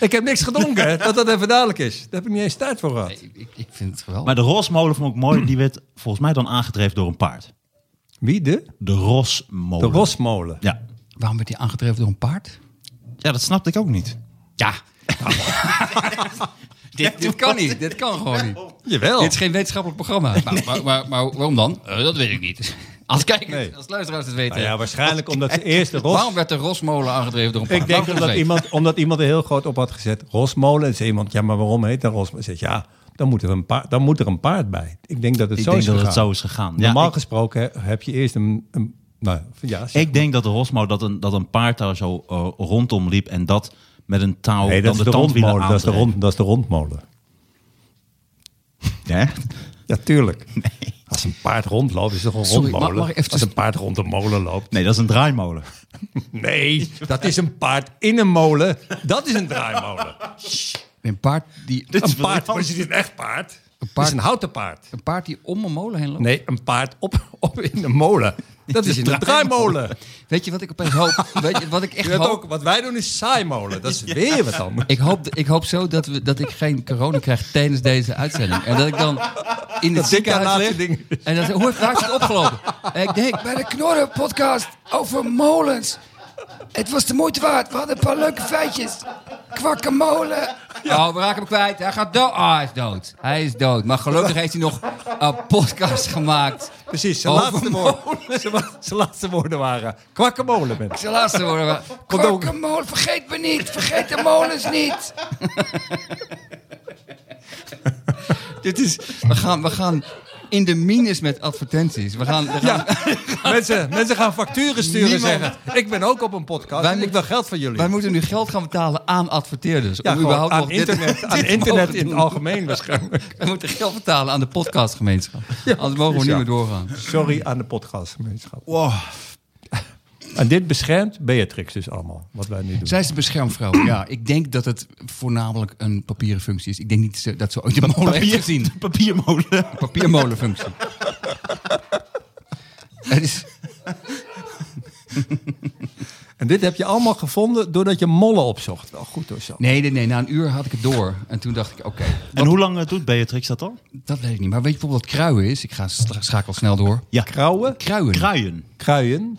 [SPEAKER 2] ik heb niks gedronken, hè, dat dat even duidelijk is. Daar heb ik niet eens tijd voor gehad.
[SPEAKER 3] Ik, ik, ik vind het geweldig.
[SPEAKER 1] Maar de rosmolen vond ik mooi. Die werd volgens mij dan aangedreven door een paard.
[SPEAKER 2] Wie de?
[SPEAKER 1] De
[SPEAKER 2] De
[SPEAKER 1] rosmolen.
[SPEAKER 2] rosmolen.
[SPEAKER 1] Ja.
[SPEAKER 3] Waarom werd die aangedreven door een paard?
[SPEAKER 1] ja, dat snapte ik ook niet.
[SPEAKER 3] Ja. dit, dit kan niet, dit kan gewoon niet.
[SPEAKER 2] Jawel.
[SPEAKER 3] Dit is geen wetenschappelijk programma. Maar, maar, maar, maar waarom dan? Eh, dat weet ik niet. Als kijkers,
[SPEAKER 2] Nee.
[SPEAKER 3] als luisteraars het weten.
[SPEAKER 2] Nou ja, waarschijnlijk omdat ze eerst de ros...
[SPEAKER 3] Waarom werd de rosmolen aangedreven door een paard?
[SPEAKER 2] Ik denk
[SPEAKER 3] Waarom
[SPEAKER 2] omdat
[SPEAKER 3] dat weet?
[SPEAKER 2] iemand, omdat iemand er heel groot op had gezet. Rosmolen. En zei iemand, ja, maar waarom heet dat Rosmolen? Zegt, ja, dan moet, er een paard, dan moet er een paard bij. Ik denk dat het
[SPEAKER 1] Ik
[SPEAKER 2] zo
[SPEAKER 1] denk
[SPEAKER 2] is
[SPEAKER 1] dat het
[SPEAKER 2] gegaan.
[SPEAKER 1] zo is gegaan. Ja,
[SPEAKER 2] Normaal
[SPEAKER 1] ik-
[SPEAKER 2] gesproken hè, heb je eerst een... een nou, ja, zeg.
[SPEAKER 1] Ik denk dat de Rosmo dat een, dat een paard daar zo eh, rondom liep en dat met een touw
[SPEAKER 2] nee, dat
[SPEAKER 1] dan
[SPEAKER 2] is de
[SPEAKER 1] tandwielen
[SPEAKER 2] rondmolen. Dat is de,
[SPEAKER 1] aandreef.
[SPEAKER 2] rond, dat is de rondmolen.
[SPEAKER 1] Ja?
[SPEAKER 2] Ja, tuurlijk.
[SPEAKER 1] <laughs>
[SPEAKER 2] Als een paard rondloopt, is het gewoon een
[SPEAKER 3] Sorry,
[SPEAKER 2] rondmolen.
[SPEAKER 3] mag- mag ik even-
[SPEAKER 2] Als een paard rond een molen loopt.
[SPEAKER 1] Nee, dat is een draaimolen.
[SPEAKER 2] <laughs> Nee, dat is een paard in een molen. Dat is een
[SPEAKER 1] <laughs>
[SPEAKER 2] draaimolen.
[SPEAKER 3] Een paard die,
[SPEAKER 2] Een paard, maar is het een echt paard? Een paard.
[SPEAKER 3] paard-
[SPEAKER 2] is een houten paard.
[SPEAKER 3] een paard die om een molen heen loopt.
[SPEAKER 2] Nee, een paard op, op in een molen. Dat is in een draaimolen.
[SPEAKER 3] Weet je wat ik opeens
[SPEAKER 2] <laughs>
[SPEAKER 3] hoop? Weet je wat ik echt
[SPEAKER 2] Je weet
[SPEAKER 3] hoop?
[SPEAKER 2] ook, wat wij doen is saaimolen. Dat is weer wat anders.
[SPEAKER 3] Ik hoop, ik hoop zo dat, we, dat ik geen corona krijg tijdens deze uitzending. En dat ik dan in het
[SPEAKER 2] aan
[SPEAKER 3] ziekenhuis
[SPEAKER 2] laatste
[SPEAKER 3] lig.
[SPEAKER 2] ding.
[SPEAKER 3] En dan zeg ik, hoe heeft waar is het
[SPEAKER 2] <laughs>
[SPEAKER 3] opgelopen? En ik denk, bij de Knorren podcast over molens. Het was de moeite waard. We hadden een paar leuke feitjes. Kwakkemolen. Oh, we raken hem kwijt. Hij gaat dood. Ah, hij is dood. Hij is dood. Maar gelukkig heeft hij nog een podcast gemaakt.
[SPEAKER 2] Precies, zijn
[SPEAKER 3] over
[SPEAKER 2] laatste, woorden, zijn, wa- zijn laatste woorden waren kwakkemolen. <laughs> Mensen.
[SPEAKER 3] Zijn laatste woorden waren...
[SPEAKER 2] Komt ook.
[SPEAKER 3] Kwakkemolen, vergeet me niet. Vergeet de molens niet. Dit is... We gaan, we gaan in de minus met advertenties. We gaan... We gaan
[SPEAKER 2] Ja, mensen, mensen gaan facturen sturen en
[SPEAKER 3] Niemand-
[SPEAKER 2] zeggen. Ik ben ook op een podcast
[SPEAKER 3] Wij
[SPEAKER 2] en ik
[SPEAKER 3] moeten-
[SPEAKER 2] wil geld van jullie.
[SPEAKER 3] Wij moeten nu geld gaan betalen aan adverteerders.
[SPEAKER 2] ja,
[SPEAKER 3] om
[SPEAKER 2] gewoon
[SPEAKER 3] überhaupt
[SPEAKER 2] aan
[SPEAKER 3] nog
[SPEAKER 2] internet,
[SPEAKER 3] <laughs> dit,
[SPEAKER 2] aan
[SPEAKER 3] dit
[SPEAKER 2] internet
[SPEAKER 3] mogen
[SPEAKER 2] in
[SPEAKER 3] doen.
[SPEAKER 2] het algemeen waarschijnlijk.
[SPEAKER 3] We moeten geld betalen aan de podcastgemeenschap. Anders mogen we
[SPEAKER 2] precies,
[SPEAKER 3] niet
[SPEAKER 2] ja.
[SPEAKER 3] meer doorgaan.
[SPEAKER 2] Sorry aan de podcastgemeenschap. <laughs> En dit beschermt Beatrix dus allemaal, wat wij nu doen.
[SPEAKER 3] Zij is de beschermvrouw. Ja, ik denk dat het voornamelijk een papieren functie is. Ik denk niet dat ze- dat ze ooit de molen heeft gezien.
[SPEAKER 1] <laughs> Papiermolen.
[SPEAKER 3] papiermolenfunctie. <laughs> Het is,
[SPEAKER 2] En dit heb je allemaal gevonden doordat je mollen opzocht. Wel goed hoor, zo.
[SPEAKER 3] nee, nee, nee, na een uur had ik het door. En toen dacht ik, oké,
[SPEAKER 1] En hoe lang eh, doet Beatrix dat dan?
[SPEAKER 3] dat weet ik niet. Maar weet je bijvoorbeeld wat kruien is? Ik ga stra- schakel snel door.
[SPEAKER 1] Ja,
[SPEAKER 2] Krauwen,
[SPEAKER 3] Kruien,
[SPEAKER 1] kruien.
[SPEAKER 2] kruien.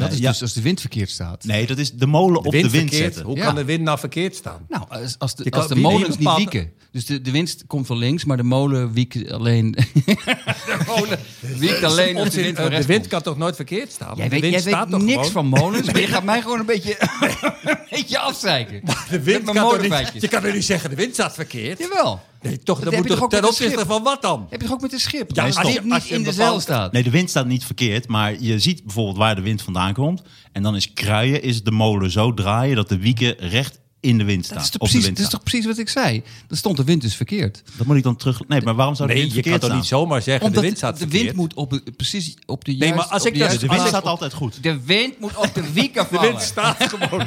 [SPEAKER 3] dat is
[SPEAKER 1] ja.
[SPEAKER 3] dus als de wind verkeerd staat.
[SPEAKER 1] Nee, dat is de molen op de wind
[SPEAKER 2] verkeerd.
[SPEAKER 1] zetten.
[SPEAKER 2] Hoe
[SPEAKER 3] Ja.
[SPEAKER 2] kan de wind nou verkeerd staan?
[SPEAKER 3] Nou, als, als de,
[SPEAKER 2] Je kan-
[SPEAKER 3] als de
[SPEAKER 2] wie- wie
[SPEAKER 3] molens niet
[SPEAKER 2] bepaalt-
[SPEAKER 3] wieken. Dus de, de wind komt van links, maar de molen wiekt alleen... <laughs> de molen wiekt alleen als de
[SPEAKER 2] Onzin,
[SPEAKER 3] wind
[SPEAKER 2] eh,
[SPEAKER 3] van
[SPEAKER 2] de
[SPEAKER 3] rechts
[SPEAKER 2] wind
[SPEAKER 3] komt.
[SPEAKER 2] kan toch nooit verkeerd staan?
[SPEAKER 3] Jij
[SPEAKER 2] Want de
[SPEAKER 3] weet, jij
[SPEAKER 2] wind
[SPEAKER 3] weet
[SPEAKER 2] staat toch
[SPEAKER 3] niks
[SPEAKER 2] gewoon?
[SPEAKER 3] van molens, maar je gaat mij gewoon een
[SPEAKER 2] <laughs>
[SPEAKER 3] beetje, een beetje afzeiken.
[SPEAKER 2] De wind
[SPEAKER 3] Met mijn
[SPEAKER 2] kan toch niet,
[SPEAKER 3] molenfeitjes.
[SPEAKER 2] je kan er niet zeggen, de wind staat verkeerd.
[SPEAKER 3] Jawel.
[SPEAKER 2] Nee, toch,
[SPEAKER 3] Dat
[SPEAKER 2] dat
[SPEAKER 3] heb
[SPEAKER 2] moet
[SPEAKER 3] je
[SPEAKER 2] toch
[SPEAKER 3] toch ook
[SPEAKER 2] ten
[SPEAKER 3] met een
[SPEAKER 2] opzichte
[SPEAKER 3] schip?
[SPEAKER 2] van wat dan?
[SPEAKER 3] Heb je toch ook met een schip?
[SPEAKER 2] Ja,
[SPEAKER 3] als,
[SPEAKER 2] als
[SPEAKER 3] die
[SPEAKER 2] je-
[SPEAKER 3] niet
[SPEAKER 2] als je
[SPEAKER 3] in
[SPEAKER 2] een
[SPEAKER 3] de
[SPEAKER 2] bepaald-
[SPEAKER 3] zeil staat.
[SPEAKER 1] Nee, de wind staat niet verkeerd, maar je ziet bijvoorbeeld waar de wind vandaan komt. En dan is kruien, is de molen zo draaien dat de wieken recht in de wind staan.
[SPEAKER 3] dat is, toch
[SPEAKER 1] op de
[SPEAKER 3] precies,
[SPEAKER 1] wind
[SPEAKER 3] dat is toch
[SPEAKER 1] staan.
[SPEAKER 3] precies wat ik zei? Dan stond de wind dus verkeerd.
[SPEAKER 1] Dat moet ik dan terug... Nee, maar waarom zou de
[SPEAKER 2] Nee,
[SPEAKER 1] wind
[SPEAKER 2] je kan
[SPEAKER 1] verkeerd
[SPEAKER 2] toch niet
[SPEAKER 1] staan?
[SPEAKER 2] zomaar zeggen,
[SPEAKER 3] Omdat
[SPEAKER 2] de wind staat verkeerd.
[SPEAKER 3] moet op, de- precies op de
[SPEAKER 2] maar
[SPEAKER 3] juiste...
[SPEAKER 2] als
[SPEAKER 3] op
[SPEAKER 2] ik dat-
[SPEAKER 3] juiste
[SPEAKER 1] De wind
[SPEAKER 3] plaats-
[SPEAKER 1] staat altijd
[SPEAKER 2] <laughs>
[SPEAKER 1] goed.
[SPEAKER 3] De wind moet op de
[SPEAKER 1] <laughs>
[SPEAKER 3] wieken
[SPEAKER 2] De
[SPEAKER 3] vallen.
[SPEAKER 2] wind staat gewoon.
[SPEAKER 3] <laughs>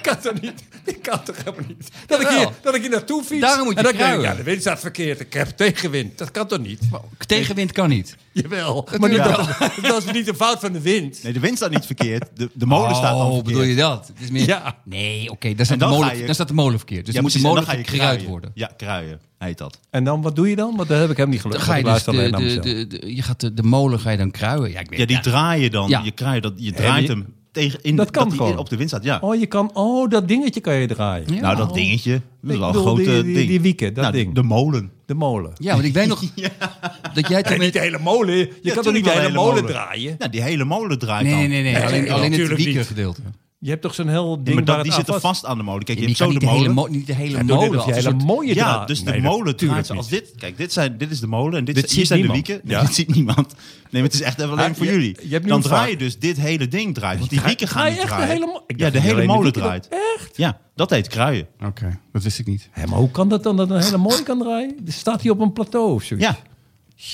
[SPEAKER 2] Ik kan toch niet. Ik kan toch helemaal niet. Dat ik,
[SPEAKER 3] Jawel.
[SPEAKER 2] hier, dat ik hier naartoe fiets.
[SPEAKER 3] Daarom moet je
[SPEAKER 2] en dan denk ik,
[SPEAKER 3] kruien.
[SPEAKER 2] ja, de wind staat verkeerd. Ik heb tegenwind. Dat kan toch niet?
[SPEAKER 3] Tegenwind kan niet.
[SPEAKER 2] Jawel. Maar niet
[SPEAKER 3] Ja.
[SPEAKER 2] dat, dat is niet een fout van de wind.
[SPEAKER 1] Nee, de wind staat niet verkeerd. De, de molen Oh, staat dan verkeerd.
[SPEAKER 3] Oh, bedoel je dat? Het is meer,
[SPEAKER 2] Ja.
[SPEAKER 3] Nee, oké, daar, staat de
[SPEAKER 1] dan ga
[SPEAKER 3] molen-
[SPEAKER 1] je-
[SPEAKER 3] daar staat de molen verkeerd. Dus
[SPEAKER 1] Ja,
[SPEAKER 3] dan moet de
[SPEAKER 1] precies, en
[SPEAKER 3] molen
[SPEAKER 1] dan ga je
[SPEAKER 3] gekruid
[SPEAKER 1] kruien.
[SPEAKER 3] worden.
[SPEAKER 1] Ja, kruien heet dat.
[SPEAKER 2] En dan, wat doe je dan? Want daar heb ik hem niet
[SPEAKER 3] Dan
[SPEAKER 2] gelukkig.
[SPEAKER 3] ga je
[SPEAKER 2] Want
[SPEAKER 3] dus
[SPEAKER 2] ik luister
[SPEAKER 3] de,
[SPEAKER 2] alleen naar
[SPEAKER 3] de,
[SPEAKER 2] mezelf.
[SPEAKER 3] de, de- je gaat de, de molen ga je dan kruien. Ja, ik weet
[SPEAKER 1] Ja, die draai je dan.
[SPEAKER 3] Ja.
[SPEAKER 1] Je, kruien, dat, je draait
[SPEAKER 2] die-
[SPEAKER 1] hem tegen in
[SPEAKER 2] Dat kan
[SPEAKER 1] die
[SPEAKER 2] gewoon.
[SPEAKER 1] in- op de wind staat. Ja.
[SPEAKER 2] Oh, je kan, oh, dat dingetje kan je draaien.
[SPEAKER 3] Ja.
[SPEAKER 1] Nou, dat dingetje. Dat is
[SPEAKER 2] Ik
[SPEAKER 1] wel een
[SPEAKER 2] bedoel,
[SPEAKER 1] groot eh,
[SPEAKER 2] die-
[SPEAKER 1] ding.
[SPEAKER 2] die- die wieken, dat
[SPEAKER 1] Nou,
[SPEAKER 2] ding.
[SPEAKER 1] De molen.
[SPEAKER 2] De molen.
[SPEAKER 3] Ja, want ik weet
[SPEAKER 1] <laughs>
[SPEAKER 3] nog dat jij
[SPEAKER 2] En
[SPEAKER 3] toen
[SPEAKER 2] niet
[SPEAKER 3] met...
[SPEAKER 2] de hele molen. Je kan toch niet de hele molen, draaien?
[SPEAKER 1] Nou, die hele molen draait
[SPEAKER 3] Nee,
[SPEAKER 1] dan.
[SPEAKER 3] nee, nee. nee. Alleen, alleen het
[SPEAKER 2] natuurlijk
[SPEAKER 3] wieken
[SPEAKER 2] niet.
[SPEAKER 3] gedeelte.
[SPEAKER 2] Je hebt toch zo'n heel ding
[SPEAKER 1] maar
[SPEAKER 2] waar
[SPEAKER 1] dat,
[SPEAKER 2] het
[SPEAKER 1] die
[SPEAKER 2] aan
[SPEAKER 1] zitten
[SPEAKER 2] vast-
[SPEAKER 1] vast aan de molen. Kijk, je
[SPEAKER 3] Die
[SPEAKER 1] hebt
[SPEAKER 3] kan
[SPEAKER 1] zo
[SPEAKER 3] niet
[SPEAKER 1] de
[SPEAKER 3] de hele,
[SPEAKER 1] molen.
[SPEAKER 3] mo niet de hele
[SPEAKER 2] Ja, doe net
[SPEAKER 3] molen
[SPEAKER 2] of je
[SPEAKER 3] als een
[SPEAKER 2] hele
[SPEAKER 3] soort-
[SPEAKER 2] mooie
[SPEAKER 1] Ja,
[SPEAKER 2] draad-
[SPEAKER 1] dus de
[SPEAKER 2] Nee, dat-
[SPEAKER 1] molen
[SPEAKER 2] tuurlijk
[SPEAKER 1] draait ze als
[SPEAKER 2] niet.
[SPEAKER 1] dit. Kijk, dit, zijn, dit is de molen en dit,
[SPEAKER 2] Dit
[SPEAKER 1] zijn- hier
[SPEAKER 2] ziet
[SPEAKER 1] zijn
[SPEAKER 2] niemand.
[SPEAKER 1] de wieken. Nee,
[SPEAKER 2] Ja.
[SPEAKER 1] <laughs> Dit ziet niemand. Nee, maar het is echt even alleen
[SPEAKER 2] Ja,
[SPEAKER 1] voor
[SPEAKER 2] je-
[SPEAKER 1] jullie.
[SPEAKER 2] je hebt nu
[SPEAKER 1] dan
[SPEAKER 2] een
[SPEAKER 1] draai
[SPEAKER 2] vraag.
[SPEAKER 1] je dus dit hele ding draait. Want die
[SPEAKER 2] Draai-
[SPEAKER 1] wieken gaan
[SPEAKER 2] draai
[SPEAKER 1] niet
[SPEAKER 2] echt de
[SPEAKER 1] draaien.
[SPEAKER 2] hele mo-
[SPEAKER 1] ja,
[SPEAKER 2] Ik dacht
[SPEAKER 1] de
[SPEAKER 2] alleen
[SPEAKER 1] hele
[SPEAKER 2] de
[SPEAKER 1] molen
[SPEAKER 2] wieken
[SPEAKER 1] draait.
[SPEAKER 2] dat- echt?
[SPEAKER 1] Ja, dat heet kruien.
[SPEAKER 3] Oké, Nou, dat wist ik niet.
[SPEAKER 2] Hé, maar hoe kan dat dan dat een hele mooie kan draaien? Er staat hij op een plateau of zoiets?
[SPEAKER 1] Ja,